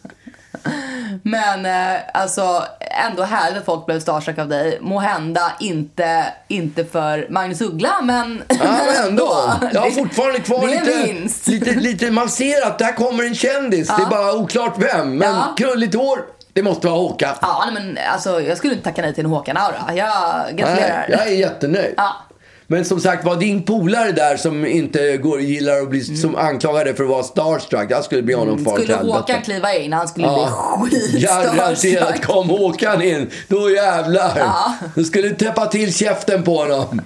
Speaker 2: Men eh, alltså ändå härligt att folk blev starstruck av dig. Må hända inte, inte för Magnus Uggla men...
Speaker 3: Ja, men ändå. Jag har
Speaker 2: Det-
Speaker 3: fortfarande kvar
Speaker 2: det är en
Speaker 3: lite,
Speaker 2: vinst.
Speaker 3: lite, lite... Man ser att där kommer en kändis. Det är bara oklart vem. Men
Speaker 2: Ja.
Speaker 3: krulligt hår, det måste vara Håkan.
Speaker 2: Ja, nej, men alltså jag skulle inte tacka nej till en Håkan-aura. Jag gratulerar.
Speaker 3: Nej, jag är jättenöjd.
Speaker 2: Ja.
Speaker 3: Men som sagt var, din polare där som inte går, gillar att bli som anklagade för att vara starstruck. Jag skulle bli honom far till
Speaker 2: Mm. Skulle
Speaker 3: helvete.
Speaker 2: Håkan kliva in, han skulle bli
Speaker 3: Garanterat
Speaker 2: skitstarstruck.
Speaker 3: kom Håkan in. Då jävlar.
Speaker 2: Ja.
Speaker 3: Du skulle täppa till käften på honom.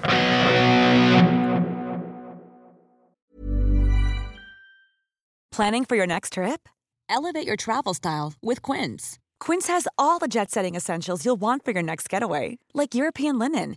Speaker 5: Planning for your next trip? Elevate your travel style with Quince. Quince has all the jet setting essentials you'll want for your next getaway, like European linen,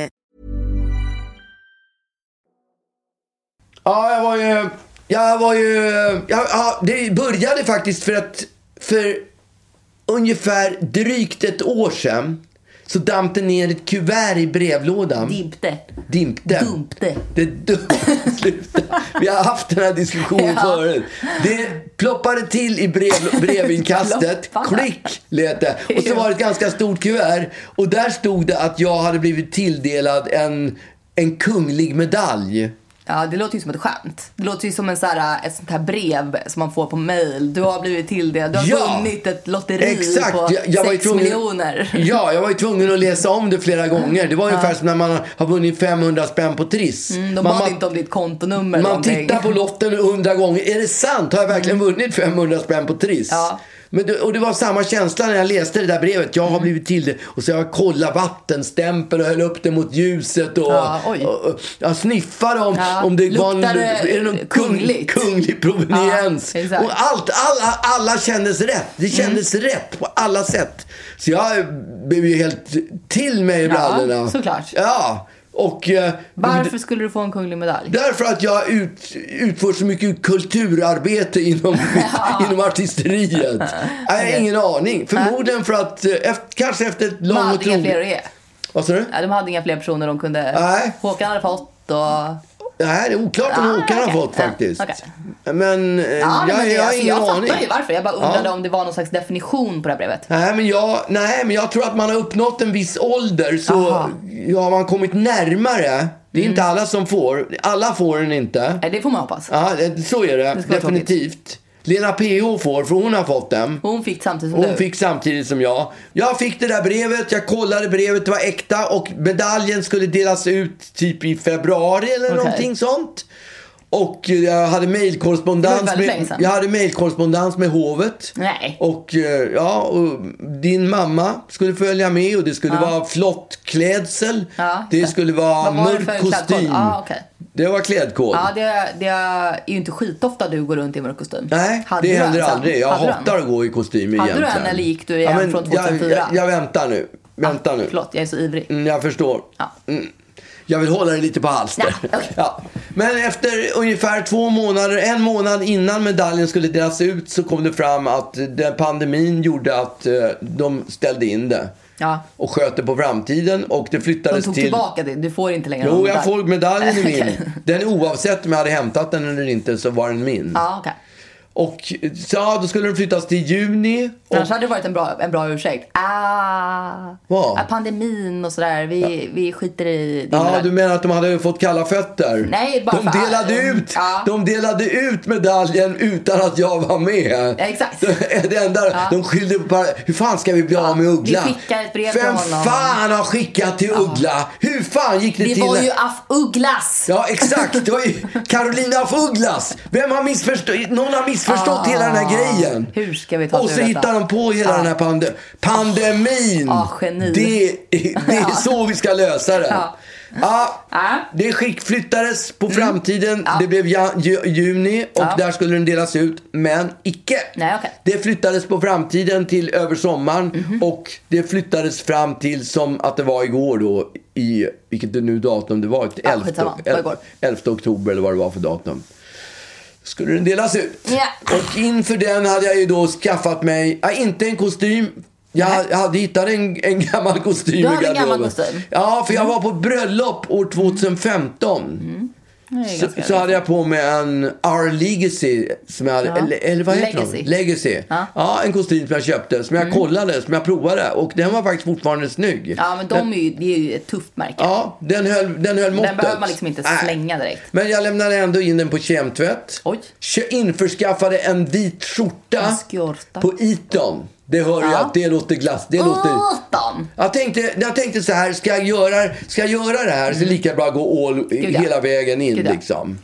Speaker 3: Ja, jag var ju... Jag var ju... Ja, ja, det började faktiskt för att för ungefär drygt ett år sedan så damp det ner ett kuvert i brevlådan.
Speaker 2: Dimpte.
Speaker 3: Dimpte.
Speaker 2: Dumpte.
Speaker 3: Det dumpte. Sluta. Vi har haft den här diskussionen
Speaker 2: Ja.
Speaker 3: förut. Det ploppade till i brev, brevinkastet.
Speaker 2: Ploppade.
Speaker 3: Klick lät det. Och så var det ett ganska stort kuvert. Och där stod det att jag hade blivit tilldelad en, en kunglig medalj.
Speaker 2: Ja, det låter ju som ett skämt. Det låter ju som en så här, eh, ett sånt här brev som man får på mail. Du har blivit tilldelad, du har
Speaker 3: Ja.
Speaker 2: vunnit ett lotteri på
Speaker 3: var ju
Speaker 2: 6 miljoner.
Speaker 3: Ja, jag var ju tvungen att läsa om det flera gånger. Det var ungefär som när man har vunnit 500 spänn på Triss.
Speaker 2: Mm, De
Speaker 3: man,
Speaker 2: bad
Speaker 3: man-
Speaker 2: inte om ditt kontonummer eller
Speaker 3: man
Speaker 2: någonting.
Speaker 3: tittar på lotten hundra gånger. Är det sant? Har jag verkligen vunnit 500 spänn på Triss?
Speaker 2: Ja.
Speaker 3: Men det, och det var samma känsla när jag läste det där brevet. Jag har
Speaker 2: Mm.
Speaker 3: blivit till det. Och så jag kollade vattenstämpel och höll upp det mot ljuset. Och,
Speaker 2: Ja, oj.
Speaker 3: och, och, jag sniffade om,
Speaker 2: Ja,
Speaker 3: om det var en,
Speaker 2: luktar det
Speaker 3: är det någon kung,
Speaker 2: kungligt?
Speaker 3: kunglig proveniens.
Speaker 2: Ja, exakt. Mm.
Speaker 3: och allt, alla, alla kändes rätt. Det kändes rätt på alla sätt. Så jag blev ju helt till mig i brallorna.
Speaker 2: såklart.
Speaker 3: Ja, och... eh,
Speaker 2: Varför skulle du få en kunglig medalj?
Speaker 3: Därför att jag ut, utför så mycket kulturarbete inom, inom artisteriet. Nej, Jag har ingen aning. Förmodligen för att, eh, efter, kanske efter ett
Speaker 2: De
Speaker 3: långt
Speaker 2: hade
Speaker 3: och
Speaker 2: inga fler att
Speaker 3: troget...
Speaker 2: ge.
Speaker 3: Vad sa du?
Speaker 2: Ja, De hade inga fler personer de kunde...
Speaker 3: Nej.
Speaker 2: Håkan hade fått och...
Speaker 3: Nej, det är oklart om
Speaker 2: Ah,
Speaker 3: Håkan har
Speaker 2: okej.
Speaker 3: fått
Speaker 2: Ja,
Speaker 3: faktiskt.
Speaker 2: okej.
Speaker 3: Men, eh,
Speaker 2: Ja,
Speaker 3: jag,
Speaker 2: men det,
Speaker 3: jag har
Speaker 2: alltså,
Speaker 3: ingen
Speaker 2: jag
Speaker 3: aning.
Speaker 2: fattar ju varför. Jag bara undrade
Speaker 3: Ja.
Speaker 2: om det var någon slags definition på det här brevet.
Speaker 3: Nej men, jag, nej, men jag tror att man har uppnått en viss ålder så
Speaker 2: Aha. Mm.
Speaker 3: har man kommit närmare. Det är inte alla som får. Alla får den inte.
Speaker 2: Nej, det får man hoppas.
Speaker 3: Ja, det- så är det.
Speaker 2: vara tråkigt.
Speaker 3: Definitivt. Lena PH får, för hon har fått den.
Speaker 2: Hon fick samtidigt som
Speaker 3: Hon
Speaker 2: du.
Speaker 3: fick samtidigt som jag. Jag fick det där brevet, jag kollade brevet, det var äkta och medaljen skulle delas ut typ i februari eller
Speaker 2: Okej.
Speaker 3: någonting sånt. Och eh, jag hade
Speaker 2: Det var
Speaker 3: mailkorrespondens
Speaker 2: väldigt länge
Speaker 3: med,
Speaker 2: sedan.
Speaker 3: jag hade mailkorrespondens med hovet.
Speaker 2: Nej.
Speaker 3: Och eh, ja, och din mamma skulle följa med och det skulle vara flott klädsel.
Speaker 2: Ja,
Speaker 3: det
Speaker 2: just det.
Speaker 3: skulle vara
Speaker 2: Vad var det för
Speaker 3: mörk kostym.
Speaker 2: klädkod? Ja, okej.
Speaker 3: Det var klädkod.
Speaker 2: Ja, det, det är ju inte skitofta du går runt i mörk kostym.
Speaker 3: Nej,
Speaker 2: Hade
Speaker 3: det
Speaker 2: du
Speaker 3: händer
Speaker 2: en sen?
Speaker 3: aldrig. Jag
Speaker 2: Hade du en?
Speaker 3: hatar att gå i kostym egentligen.
Speaker 2: Hade du en eller gick du i en från 2004?
Speaker 3: Jag, jag, jag väntar nu. Vänta nu.
Speaker 2: Ah, Förlåt, jag är så ivrig.
Speaker 3: Mm, jag förstår.
Speaker 2: Ja.
Speaker 3: Mm. Jag vill hålla det lite på halster.
Speaker 2: Ja, okej.
Speaker 3: Ja. Men efter ungefär två månader, en månad innan medaljen skulle delas ut så kom det fram att eh, den pandemin gjorde att eh, de ställde in det.
Speaker 2: Ja.
Speaker 3: Och sköt det på framtiden och det
Speaker 2: De
Speaker 3: flyttades
Speaker 2: tog
Speaker 3: till...
Speaker 2: tillbaka det. Du får inte längre någon
Speaker 3: Jo, jag
Speaker 2: medalj.
Speaker 3: får medaljen i min.
Speaker 2: Okej.
Speaker 3: Den oavsett om jag hade hämtat den eller inte så var den min.
Speaker 2: Ja, okej.
Speaker 3: Och så, ja, då skulle den flyttas till juni. Och,
Speaker 2: Annars hade det varit en bra, en bra ursäkt. Ah,
Speaker 3: Vad?
Speaker 2: ah, pandemin och sådär. Vi, vi skiter i din
Speaker 3: ja,
Speaker 2: medalj.
Speaker 3: du menar att de hade fått kalla fötter?
Speaker 2: Nej, bara
Speaker 3: de
Speaker 2: för-
Speaker 3: delade
Speaker 2: Mm,
Speaker 3: ut
Speaker 2: ja.
Speaker 3: De delade ut medaljen utan att jag var med.
Speaker 2: Ja, exakt.
Speaker 3: Det, det enda, De skyllde på bara, hur fan ska vi bli av med Uggla?
Speaker 2: vi skickar ett brev till
Speaker 3: Vem
Speaker 2: honom.
Speaker 3: fan har skickat till Uggla? Hur fan gick det,
Speaker 2: Det
Speaker 3: till?
Speaker 2: var
Speaker 3: när-
Speaker 2: ju af Ugglas!
Speaker 3: Ja, exakt. Det var ju Carolina af Ugglas. Vem har missförstått? Någon har
Speaker 2: Ah.
Speaker 3: missförstått hela den här grejen.
Speaker 2: Hur ska vi ta
Speaker 3: Och
Speaker 2: oss
Speaker 3: så
Speaker 2: ur detta?
Speaker 3: hittar de på hela den här pande- pandemin.
Speaker 2: Ah, geni.
Speaker 3: det, det är så vi ska lösa det. Ja.
Speaker 2: Ah.
Speaker 3: Det skick flyttades
Speaker 2: Mm.
Speaker 3: på framtiden. Det blev ja, ju, juni och där skulle den delas ut, men icke.
Speaker 2: Nej, okej. Mhm.
Speaker 3: Det flyttades på framtiden till över sommaren och det flyttades fram till som att det var igår då i, vilket det nu datum det var, ett
Speaker 2: Ja,
Speaker 3: 11,
Speaker 2: skitsamma. Det var igår.
Speaker 3: 11 oktober eller vad det var för datum. Skulle den delas ut.
Speaker 2: Ja.
Speaker 3: Och inför den hade jag ju då skaffat mig, ja, inte en kostym. Jag
Speaker 2: Nej.
Speaker 3: jag hade hittat en, en gammal kostym
Speaker 2: Du
Speaker 3: i
Speaker 2: hade en gammal
Speaker 3: garderoben.
Speaker 2: kostym? Mm.
Speaker 3: Ja, för jag var på bröllop år 2015.
Speaker 2: Det är
Speaker 3: Så,
Speaker 2: ganska
Speaker 3: så hade jag på mig en R Legacy, som jag hade, eller, eller vad heter
Speaker 2: Legacy. Mm.
Speaker 3: den? Legacy. Ja. en kostym som jag köpte, som jag kollade, som jag provade. Och den var faktiskt fortfarande snygg.
Speaker 2: Ja, men de är ju, det är ju ett tufft märke.
Speaker 3: Ja, den höll, den höll måttet.
Speaker 2: Den behöver man liksom inte
Speaker 3: Nej.
Speaker 2: slänga direkt.
Speaker 3: Men jag lämnade ändå in den på kemtvätt.
Speaker 2: Oj.
Speaker 3: Kö- Införskaffade en vit skjorta
Speaker 2: En skjorta.
Speaker 3: på Eton. Det hör jag
Speaker 2: Ja.
Speaker 3: att det låter glass. Det låter...
Speaker 2: Åtan!
Speaker 3: Jag tänkte, jag tänkte så här, ska jag göra, ska jag göra det här så är det lika bra att gå all
Speaker 2: Mm. Gud, ja.
Speaker 3: hela vägen in
Speaker 2: Gud, ja.
Speaker 3: liksom.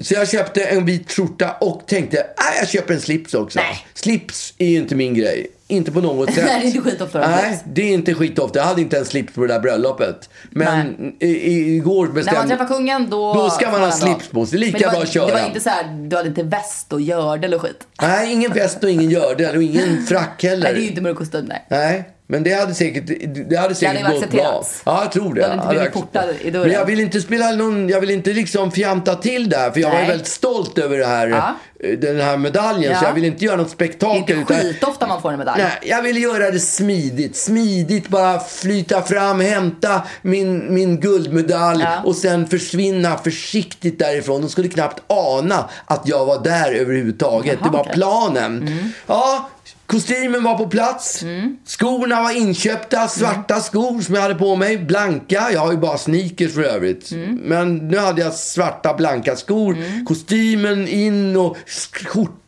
Speaker 3: Så jag köpte en vit skjorta och tänkte, äh, jag köper en slips också.
Speaker 2: Nej.
Speaker 3: Slips är ju inte min grej. Inte på något sätt.
Speaker 2: Nej, det är inte skitofta du har
Speaker 3: Nej,
Speaker 2: slips.
Speaker 3: det är inte skitofta. Jag hade inte en slips på det där bröllopet. Men i, i, igår
Speaker 2: När man
Speaker 3: bestämde...
Speaker 2: träffar kungen då...
Speaker 3: Då ska man ha slips på sig. Det är lika
Speaker 2: Men det var,
Speaker 3: bra att köra.
Speaker 2: Det var inte så här, du hade inte väst och gördel och skit.
Speaker 3: Nej, ingen väst och ingen gördel och ingen frack heller.
Speaker 2: Nej, det är ju inte mörk kostym nej.
Speaker 3: Nej, men det hade säkert, det hade säkert
Speaker 2: hade ju
Speaker 3: gått bra.
Speaker 2: accepterats.
Speaker 3: Ja, jag tror det.
Speaker 2: Du hade inte
Speaker 3: Jag
Speaker 2: blivit
Speaker 3: accept-
Speaker 2: portad i dörren.
Speaker 3: Men jag vill inte spela någon, jag vill inte liksom fjanta till det här. För jag var ju
Speaker 2: Nej.
Speaker 3: väldigt stolt över det här,
Speaker 2: Ja.
Speaker 3: eh, den här medaljen. Så
Speaker 2: Ja.
Speaker 3: jag vill inte göra något
Speaker 2: Det är
Speaker 3: spektakel.
Speaker 2: inte
Speaker 3: utan-
Speaker 2: skitofta man får en medalj.
Speaker 3: Nej, jag vill göra det smidigt. Smidigt bara flyta fram, hämta min, min guldmedalj
Speaker 2: Ja.
Speaker 3: och sen försvinna försiktigt därifrån. De skulle knappt ana att jag var där överhuvudtaget. det var
Speaker 2: okej. Mm.
Speaker 3: planen. Ja, kostymen var på plats. Skorna var inköpta. Svarta
Speaker 2: Mm.
Speaker 3: skor som jag hade på mig. Blanka. Jag har ju bara sneakers för övrigt.
Speaker 2: Mm.
Speaker 3: Men nu hade jag svarta blanka skor. Kostymen in och sk- skjortan.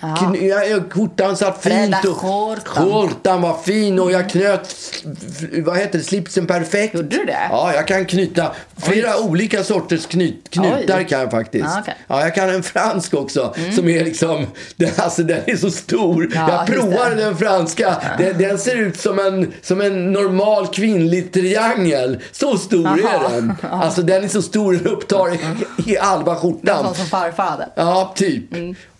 Speaker 3: Kn- ja, ja, skjortan satt fint.
Speaker 2: Rädda
Speaker 3: Och,
Speaker 2: skjortan.
Speaker 3: skjortan var fin och jag knöt f- vad heter det, slipsen perfekt.
Speaker 2: Gjorde du det?
Speaker 3: Ja, jag kan knyta flera olika sorters knyt, knutar
Speaker 2: Oj.
Speaker 3: kan jag faktiskt.
Speaker 2: Ja, okej. Mm.
Speaker 3: Ja, jag kan en fransk också som är liksom, den, alltså den är så stor.
Speaker 2: Ja,
Speaker 3: jag
Speaker 2: just
Speaker 3: provar
Speaker 2: det.
Speaker 3: den franska. Den, den ser ut som en, som en normal kvinnlig triangel. Så stor är
Speaker 2: Aha.
Speaker 3: den. Alltså den är så stor den upptar i, i halva skjortan.
Speaker 2: Sån som farfar hade. Mm,
Speaker 3: Ja, typ.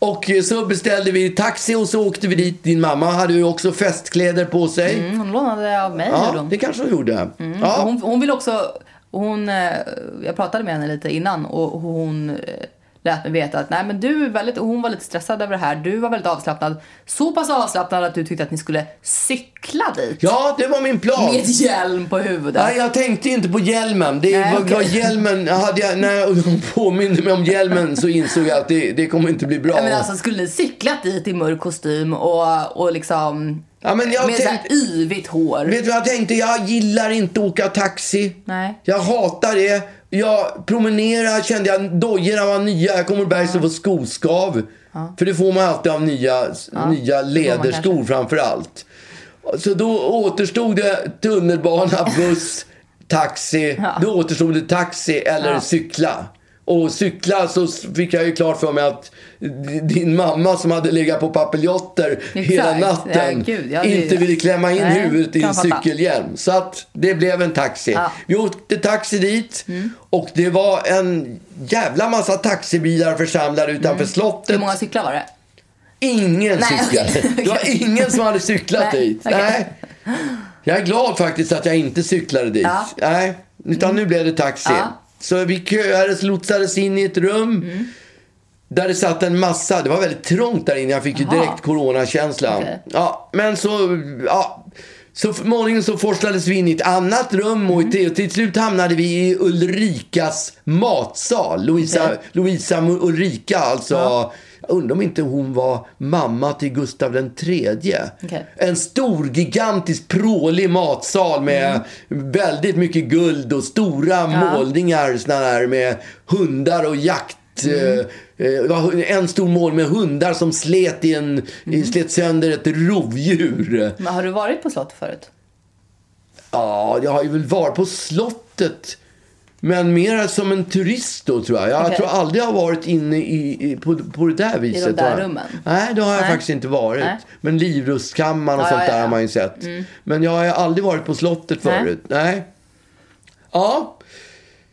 Speaker 3: Och eh, så beställde vi taxi och så åkte vi dit. Din mamma hade ju också festkläder på sig.
Speaker 2: Mm, hon lånade av mig gjorde
Speaker 3: Ja,
Speaker 2: hon. Mm.
Speaker 3: det kanske hon gjorde. Ja.
Speaker 2: Hon, hon vill också, hon, eh, jag pratade med henne lite innan och hon eh, lät mig veta att nej men du är väldigt, och hon var lite stressad över det här, du var väldigt avslappnad. Så pass avslappnad att du tyckte att ni skulle cykla dit.
Speaker 3: Ja, det var min plan.
Speaker 2: Med hjälm på huvudet.
Speaker 3: Nej, jag tänkte ju inte på hjälmen. Det
Speaker 2: Nej,
Speaker 3: var,
Speaker 2: okej.
Speaker 3: var hjälmen hade jag, när hon påminde mig om hjälmen så insåg jag att det, det kommer inte bli bra.
Speaker 2: Ja, men alltså skulle ni cyklat dit i mörk kostym och, och liksom
Speaker 3: Ja, men jag
Speaker 2: med
Speaker 3: tänk-
Speaker 2: såhär yvigt hår.
Speaker 3: Vet du vad jag tänkte? Jag gillar inte att åka taxi.
Speaker 2: Nej.
Speaker 3: Jag hatar det. Jag promenerar, kände jag, dojorna var nya. Jag kommer bergs och får skoskav. För det får man alltid av nya, nya lederskor framför allt. Så då återstod det tunnelbana, buss, taxi. Då återstod det taxi eller cykla. Och cykla så fick jag ju klart för mig att din mamma som hade legat på papiljotter hela
Speaker 2: Exakt.
Speaker 3: natten
Speaker 2: Ja, gud, ja, det-
Speaker 3: inte ville klämma in
Speaker 2: Nej,
Speaker 3: huvudet i
Speaker 2: kan
Speaker 3: en
Speaker 2: jag fatta.
Speaker 3: cykelhjälm. Så att det blev en taxi.
Speaker 2: Ja. Mm.
Speaker 3: Vi åkte taxi dit och det var en jävla massa taxibilar församlade utanför slottet.
Speaker 2: Mm. Hur många cyklar var det?
Speaker 3: Ingen
Speaker 2: Nej,
Speaker 3: cyklade.
Speaker 2: okej,
Speaker 3: Det var
Speaker 2: okej.
Speaker 3: ingen som hade cyklat
Speaker 2: Nej,
Speaker 3: dit.
Speaker 2: okej.
Speaker 3: Nej. Jag är glad faktiskt att jag inte cyklade dit.
Speaker 2: Ja.
Speaker 3: Nej, utan nu blev det taxi.
Speaker 2: Ja. Mm.
Speaker 3: Så vi köades, lotsades in i ett rum. Där det satt en massa, det var väldigt trångt där inne. Jag fick ju
Speaker 2: Jaha.
Speaker 3: direkt coronakänslan.
Speaker 2: Okej.
Speaker 3: Ja, men så, ja. Så f- morgonen så forslades vi in i ett annat rum
Speaker 2: Mm.
Speaker 3: och till, till slut hamnade vi i Ulrikas matsal. Louisa,
Speaker 2: Okej.
Speaker 3: Louisa Mu- Ulrika, alltså. Jag undrar om inte hon var mamma till Gustav den tredje.
Speaker 2: Okej.
Speaker 3: En stor, gigantisk, prålig matsal med väldigt mycket guld och stora målningar såna där, med hundar och jakt. eh, eh, det var En stor mål med hundar som slet, i en, i- slet sönder ett rovdjur.
Speaker 2: Men har du varit på slottet förut?
Speaker 3: Ja, jag har ju väl varit på slottet. Men mer som en turist då tror jag. Jag
Speaker 2: Okej.
Speaker 3: tror aldrig jag har varit inne i, i, på, på det där viset.
Speaker 2: där
Speaker 3: har jag.
Speaker 2: rummen?
Speaker 3: Nej, det har jag
Speaker 2: Nej.
Speaker 3: faktiskt inte varit.
Speaker 2: Nej.
Speaker 3: Men Livrustkammaren och
Speaker 2: Ja,
Speaker 3: sånt
Speaker 2: ja,
Speaker 3: där
Speaker 2: ja. Mm.
Speaker 3: har man ju sett. Men jag har ju aldrig varit på slottet
Speaker 2: Nej.
Speaker 3: förut. Nej. Ja.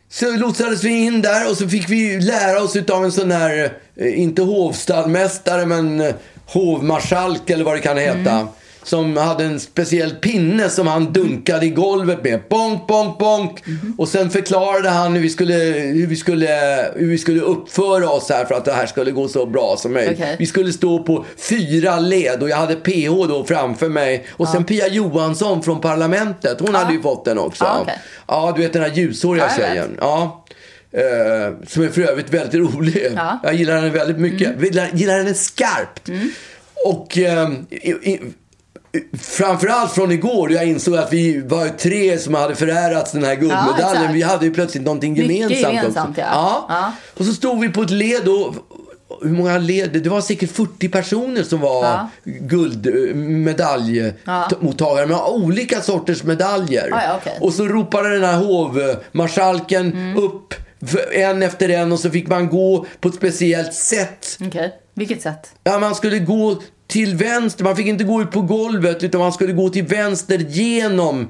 Speaker 3: Så lotsades vi in där och så fick vi lära oss utav en sån här, eh, inte hovstallmästare men eh, hovmarskalk eller vad det kan heta.
Speaker 2: Mm.
Speaker 3: Som hade en speciell pinne som han dunkade i golvet med. Bonk, bonk, bonk.
Speaker 2: Mm-hmm.
Speaker 3: Och sen förklarade han hur vi, skulle, hur, vi skulle, hur vi skulle uppföra oss här för att det här skulle gå så bra som möjligt.
Speaker 2: Okej.
Speaker 3: Vi skulle stå på fyra led och jag hade PH då framför mig. Och sen Pia Johansson från Parlamentet, hon hade ju fått den också.
Speaker 2: Ja, okej.
Speaker 3: Ja, du vet den här ljushåriga
Speaker 2: Ja, jag vet.
Speaker 3: tjejen. Ja. Eh, som är för övrigt väldigt rolig.
Speaker 2: Ja. Mm.
Speaker 3: Jag gillar henne väldigt mycket. Gillar, gillar henne skarpt. Och eh, i, i, Framförallt från igår då jag insåg att vi var tre som hade förärats den här guldmedaljen.
Speaker 2: exakt.
Speaker 3: vi hade ju plötsligt någonting
Speaker 2: Mycket
Speaker 3: gemensamt,
Speaker 2: gemensamt,
Speaker 3: också.
Speaker 2: ja. Ja.
Speaker 3: Och så stod vi på ett led och hur många led? Det var säkert 40 personer som var eh,
Speaker 2: Ja.
Speaker 3: guldmedaljmottagare med olika sorters medaljer.
Speaker 2: Ja, ja, okej. Mm.
Speaker 3: Och så ropade den här hovmarskalken upp för- en efter en och så fick man gå på ett speciellt sätt.
Speaker 2: Okej. Vilket sätt?
Speaker 3: Ja, man skulle gå till vänster, man fick inte gå ut på golvet utan man skulle gå till vänster genom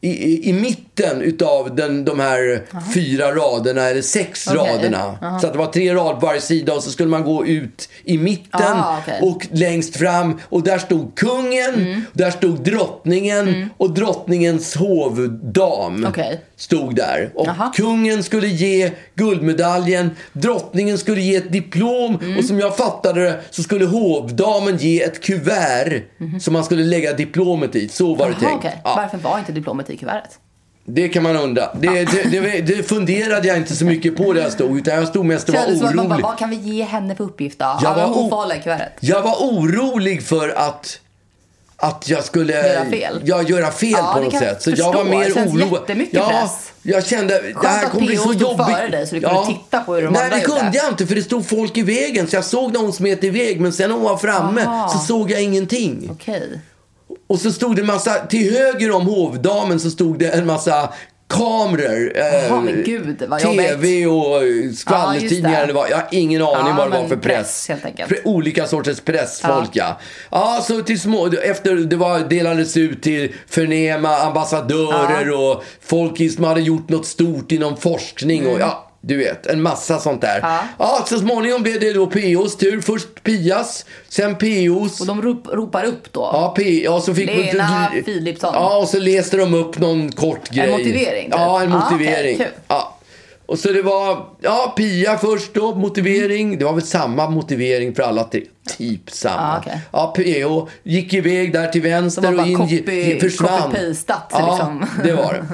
Speaker 3: i, i, i mitten utav den, de här fyra raderna eller sex
Speaker 2: Okej.
Speaker 3: raderna. Så att det var tre rader på varje sida och så skulle man gå ut i mitten
Speaker 2: Ah, okej. Mm.
Speaker 3: och längst fram och där stod kungen, där stod drottningen och drottningens hovdam
Speaker 2: Okej.
Speaker 3: stod där. Och
Speaker 2: Jaha.
Speaker 3: kungen skulle ge guldmedaljen, drottningen skulle ge ett diplom
Speaker 2: Mm.
Speaker 3: och som jag fattade det så skulle hovdamen ge ett kuvert som man skulle lägga diplomet i. Så var det
Speaker 2: Mhm. Jaha,
Speaker 3: tänkt.
Speaker 2: okej.
Speaker 3: Ja.
Speaker 2: Varför var inte diplomet i kuvertet?
Speaker 3: Det kan man undra. Det, det, det, det funderade jag inte så mycket på där jag stod utan jag stod mest och var
Speaker 2: Kändes som att man bara,
Speaker 3: orolig.
Speaker 2: vad kan vi ge henne för uppgift då? Jag ja,
Speaker 3: Jag
Speaker 2: men
Speaker 3: var
Speaker 2: hon
Speaker 3: o-
Speaker 2: får hålla i kuvertet.
Speaker 3: Jag var orolig för att att jag skulle
Speaker 2: Göra fel.
Speaker 3: Ja, göra fel
Speaker 2: Ja,
Speaker 3: på
Speaker 2: det
Speaker 3: något
Speaker 2: kan jag
Speaker 3: sätt. Så jag
Speaker 2: förstå.
Speaker 3: var mer
Speaker 2: Det känns
Speaker 3: oroad.
Speaker 2: jättemycket
Speaker 3: ja,
Speaker 2: press.
Speaker 3: Jag kände det
Speaker 2: Skönt
Speaker 3: här
Speaker 2: att
Speaker 3: kommer bli
Speaker 2: PO
Speaker 3: så
Speaker 2: stod
Speaker 3: jobbigt.
Speaker 2: före dig, så du kunde titta på hur de
Speaker 3: Nej,
Speaker 2: andra
Speaker 3: det
Speaker 2: gjorde.
Speaker 3: kunde jag inte för det stod folk i vägen. Så jag såg när hon smet iväg men sen när hon var framme
Speaker 2: Aha.
Speaker 3: så såg jag ingenting.
Speaker 2: Okej.
Speaker 3: Och så stod det massa, till höger om hovdamen så stod det en massa kameror. eh,
Speaker 2: Jaha, men gud, vad
Speaker 3: TV och eh, skvallertidningar
Speaker 2: Ja, just det.
Speaker 3: eller vad. Jag har ingen aning
Speaker 2: Ja,
Speaker 3: vad det var
Speaker 2: men
Speaker 3: för press.
Speaker 2: press, helt enkelt.
Speaker 3: Pre- olika sorters pressfolk ja. ja. så till små, efter det var, delades ut till förnäma ambassadörer och folk som hade gjort något stort inom forskning
Speaker 2: Mm.
Speaker 3: och ja. Du vet, en massa sånt där. Ja. så småningom blev det då POs tur. Först Pias, sen POs.
Speaker 2: Och de rop, ropar upp då?
Speaker 3: Ja, P- ja, så fick typ-
Speaker 2: Lena Philipsson.
Speaker 3: Ja, och så läste de upp någon kort grej.
Speaker 2: motivering, typ.
Speaker 3: Ja, en
Speaker 2: Ja, okej,
Speaker 3: motivering.
Speaker 2: kul.
Speaker 3: ja. Och så det var, ja, Pia först då, motivering. Det var väl samma motivering för alla tre. Typ samma.
Speaker 2: Mm. Ah, okej.
Speaker 3: Ja, PO gick iväg där till
Speaker 2: Det
Speaker 3: vänster
Speaker 2: var
Speaker 3: och in
Speaker 2: bara
Speaker 3: ge-
Speaker 2: copy-
Speaker 3: försvann.
Speaker 2: copy-pastat,
Speaker 3: ja,
Speaker 2: liksom.
Speaker 3: det var det.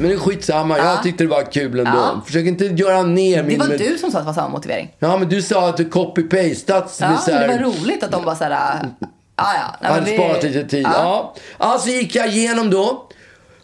Speaker 3: Men det är skitsamma, jag tyckte det var kul ändå.
Speaker 2: Ja.
Speaker 3: Försök inte göra ner
Speaker 2: Ah. Det
Speaker 3: min...
Speaker 2: var du som sa att det var samma motivering.
Speaker 3: Ja, men du sa att du copy-pastat.
Speaker 2: Ja,
Speaker 3: med så
Speaker 2: men det
Speaker 3: här-
Speaker 2: var roligt att de bara såhär, ah, ja. Nej,
Speaker 3: jag
Speaker 2: men
Speaker 3: hade
Speaker 2: vi-
Speaker 3: sparat lite tid. Ja. Alltså gick jag igenom då.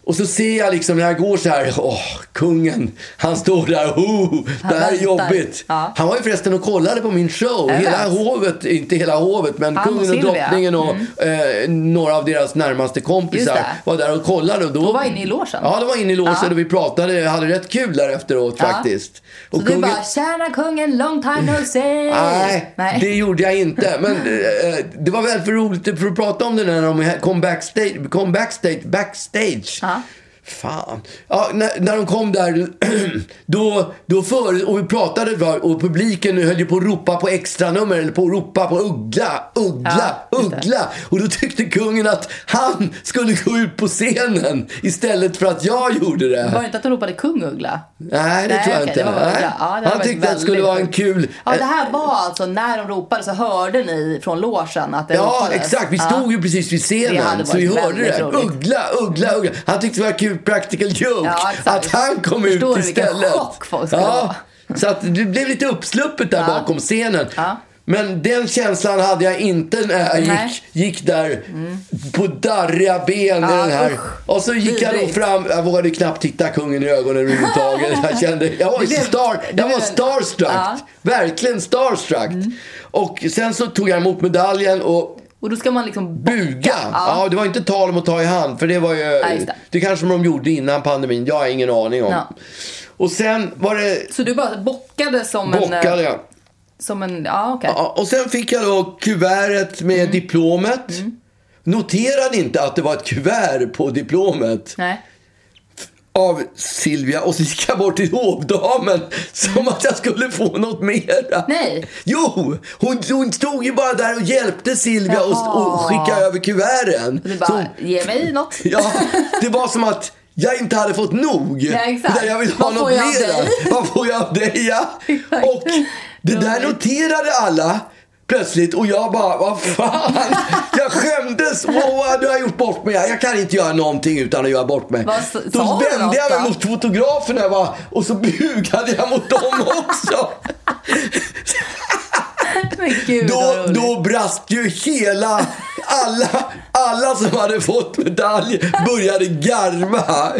Speaker 3: Och så ser jag liksom när jag går så här, åh, kungen, han står där, oh, det här är
Speaker 2: väntar.
Speaker 3: jobbigt.
Speaker 2: Ja.
Speaker 3: Han var ju förresten och kollade på min show.
Speaker 2: Jag
Speaker 3: Hela
Speaker 2: vet.
Speaker 3: hovet, inte hela hovet, men
Speaker 2: Han och
Speaker 3: kungen och
Speaker 2: Silvia. Mm.
Speaker 3: drottningen och eh, några av deras närmaste kompisar
Speaker 2: Just det.
Speaker 3: var där och kollade. Och då,
Speaker 2: De var inne i logen.
Speaker 3: Ja, de var inne i logen
Speaker 2: Ja.
Speaker 3: och vi pratade, hade rätt kul där efteråt
Speaker 2: Ja.
Speaker 3: faktiskt.
Speaker 2: Så
Speaker 3: Och
Speaker 2: du bara, tjäna kungen, long time no see.
Speaker 3: Nej,
Speaker 2: Nej.
Speaker 3: det gjorde jag inte. Men eh, det var väl för roligt för att prata om det när de kom backstage. Kom backstage, backstage.
Speaker 2: Ja.
Speaker 3: Fan. Ja, när, när de kom där, då, då för, och vi pratade bra, och publiken höll ju på att ropa på extranummer eller på att ropa på Uggla, Uggla,
Speaker 2: Ja, just det.
Speaker 3: Uggla. Och då tyckte kungen att han skulle gå ut på scenen istället för att jag gjorde det.
Speaker 2: Var det inte att de ropade kung Uggla?
Speaker 3: Nej, det tror jag
Speaker 2: okej,
Speaker 3: inte.
Speaker 2: det var bara
Speaker 3: Nej.
Speaker 2: Uggla. Ja, det hade
Speaker 3: han
Speaker 2: varit
Speaker 3: tyckte att det skulle
Speaker 2: väldigt
Speaker 3: vara en
Speaker 2: sjukt.
Speaker 3: kul...
Speaker 2: Ja, det här var alltså när de ropade så hörde ni från logen att det
Speaker 3: Ja,
Speaker 2: ropades.
Speaker 3: exakt. Vi stod ju precis vid
Speaker 2: Det hade
Speaker 3: scenen,
Speaker 2: varit
Speaker 3: så vi hörde
Speaker 2: väldigt
Speaker 3: det.
Speaker 2: roligt.
Speaker 3: Uggla, uggla, uggla. Han tyckte det var kul practical joke.
Speaker 2: Ja, exakt.
Speaker 3: att han kom
Speaker 2: Förstår
Speaker 3: ut
Speaker 2: du vilken
Speaker 3: istället.
Speaker 2: chock folk skulle ha?
Speaker 3: Så att det blev lite uppsluppet där bakom scenen.
Speaker 2: Ja.
Speaker 3: Men den känslan hade jag inte när jag
Speaker 2: Nej.
Speaker 3: gick, gick där på darriga ben i
Speaker 2: Ja,
Speaker 3: den här.
Speaker 2: usch.
Speaker 3: Och så gick jag då
Speaker 2: Vidrigt.
Speaker 3: fram. Jag vågade knappt titta kungen i ögonen överhuvudtaget. Jag kände, jag var,
Speaker 2: Det blev-
Speaker 3: star,
Speaker 2: det
Speaker 3: jag var
Speaker 2: blev-
Speaker 3: starstruck.
Speaker 2: Ja. Mm.
Speaker 3: Verkligen starstruck. Och sen så tog jag emot medaljen och
Speaker 2: Och då ska man liksom
Speaker 3: Buga? Ja.
Speaker 2: Ja.
Speaker 3: det var inte tal om att ta i hand. För det var ju...
Speaker 2: just det.
Speaker 3: det. kanske de gjorde innan pandemin. Jag har ingen aning om.
Speaker 2: Ja.
Speaker 3: Och sen var det...
Speaker 2: Så du bara bockade som en... eh,
Speaker 3: Bockade jag.
Speaker 2: Som en, ja okej.
Speaker 3: Ja, och sen fick jag då kuvertet med
Speaker 2: Mm.
Speaker 3: diplomet. Noterade inte att det var ett kuvert på diplomet
Speaker 2: Nej.
Speaker 3: av Silvia och så gick jag bort till hovdamen som att jag skulle få något mera.
Speaker 2: Nej.
Speaker 3: Jo, hon, hon stod ju bara där och hjälpte Silvia och, och skickade över kuverten.
Speaker 2: Du bara,
Speaker 3: Så-
Speaker 2: ge mig något.
Speaker 3: Ja, det var som att jag inte hade fått nog.
Speaker 2: Ja, exakt.
Speaker 3: Utan Jag vill ha
Speaker 2: Vad
Speaker 3: något
Speaker 2: får jag av
Speaker 3: mer.
Speaker 2: dig?
Speaker 3: Vad får jag av dig? Ja.
Speaker 2: Exakt.
Speaker 3: Och det där noterade alla plötsligt och jag bara, vad fan. Jag skämdes. Åh, du har gjort bort mig. Jag kan inte göra någonting utan att göra bort mig.
Speaker 2: Vad sa-
Speaker 3: Då
Speaker 2: sa du
Speaker 3: vände
Speaker 2: något
Speaker 3: jag mig
Speaker 2: då?
Speaker 3: mot fotograferna va? och så bugade jag mot dem också.
Speaker 2: Men gud vad
Speaker 3: Då,
Speaker 2: roligt.
Speaker 3: då brast ju hela, alla, alla som hade fått medalj började garva.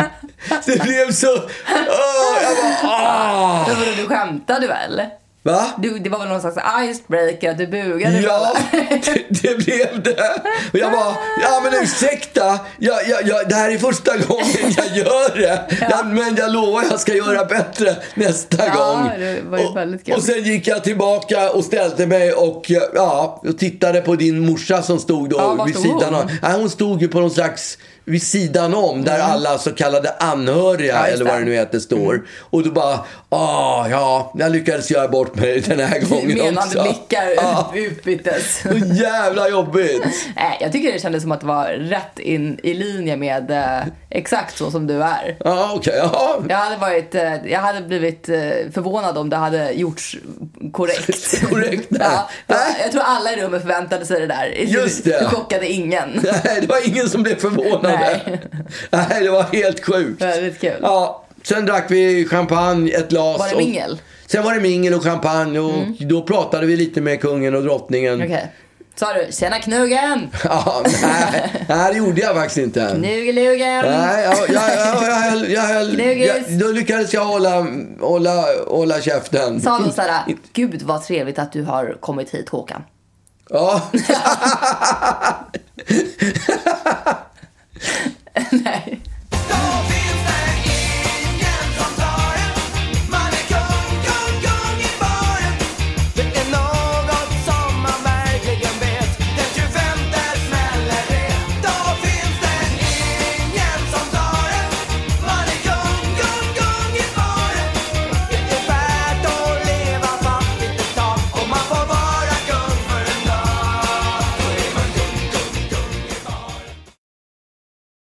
Speaker 3: Det blev så, åh, jag bara, ah.
Speaker 2: Men vadå, du skämtade väl?
Speaker 3: Va?
Speaker 2: Du, det var väl någon slags icebreaker att du bugade
Speaker 3: Ja,
Speaker 2: väl?
Speaker 3: det, det blev det. Och jag bara, ja men ursäkta, jag, jag, jag, det här är första gången jag gör det. Jag, men jag lovar jag ska göra bättre nästa
Speaker 2: Ja,
Speaker 3: gång.
Speaker 2: det var ju väldigt kul.
Speaker 3: och, och sen gick jag tillbaka och ställde mig och, ja, och tittade på din morsa som stod då
Speaker 2: Ja, var
Speaker 3: vid
Speaker 2: stod
Speaker 3: sidan
Speaker 2: hon?
Speaker 3: av. Nej, hon stod ju på någon slags vid sidan om där alla så kallade anhöriga
Speaker 2: Mm. just
Speaker 3: eller vad
Speaker 2: det. Mm.
Speaker 3: det nu heter står. Och då bara, ah, ja, jag lyckades göra bort mig den här gången
Speaker 2: Menande
Speaker 3: också.
Speaker 2: blickar
Speaker 3: Ja.
Speaker 2: utbyttes.
Speaker 3: Så jävla jobbigt.
Speaker 2: Nej, jag tycker det kändes som att det var rätt in i linje med eh, exakt så som du är.
Speaker 3: Ja, okej. Ja.
Speaker 2: Jag hade, varit, eh, jag hade blivit eh, förvånad om det hade gjorts korrekt.
Speaker 3: Korrekt, nej.
Speaker 2: ja, det var-
Speaker 3: Nej.
Speaker 2: jag tror alla i rummet förväntade sig det där.
Speaker 3: Just det.
Speaker 2: Du chockade ingen.
Speaker 3: Nej, det var ingen som blev förvånad.
Speaker 2: Nej.
Speaker 3: Nej, det var helt sjukt.
Speaker 2: Väldigt kul.
Speaker 3: Ja, sen drack vi champagne, ett glas.
Speaker 2: Var det
Speaker 3: och-
Speaker 2: mingel? Mm.
Speaker 3: Sen var det mingel och champagne och då pratade vi lite med kungen och drottningen.
Speaker 2: Okej. Sa du “Tjena knugen!
Speaker 3: Ja, nej, nej, det gjorde jag faktiskt inte.
Speaker 2: Knugelugen!”
Speaker 3: Nej, jag, jag, jag, jag höll... Jag höll jag,
Speaker 2: Knuggis.
Speaker 3: då lyckades jag hålla, hålla, hålla käften.
Speaker 2: Sa de såhär “Gud vad trevligt att du har kommit hit Håkan”?
Speaker 3: Ja.
Speaker 2: Nej.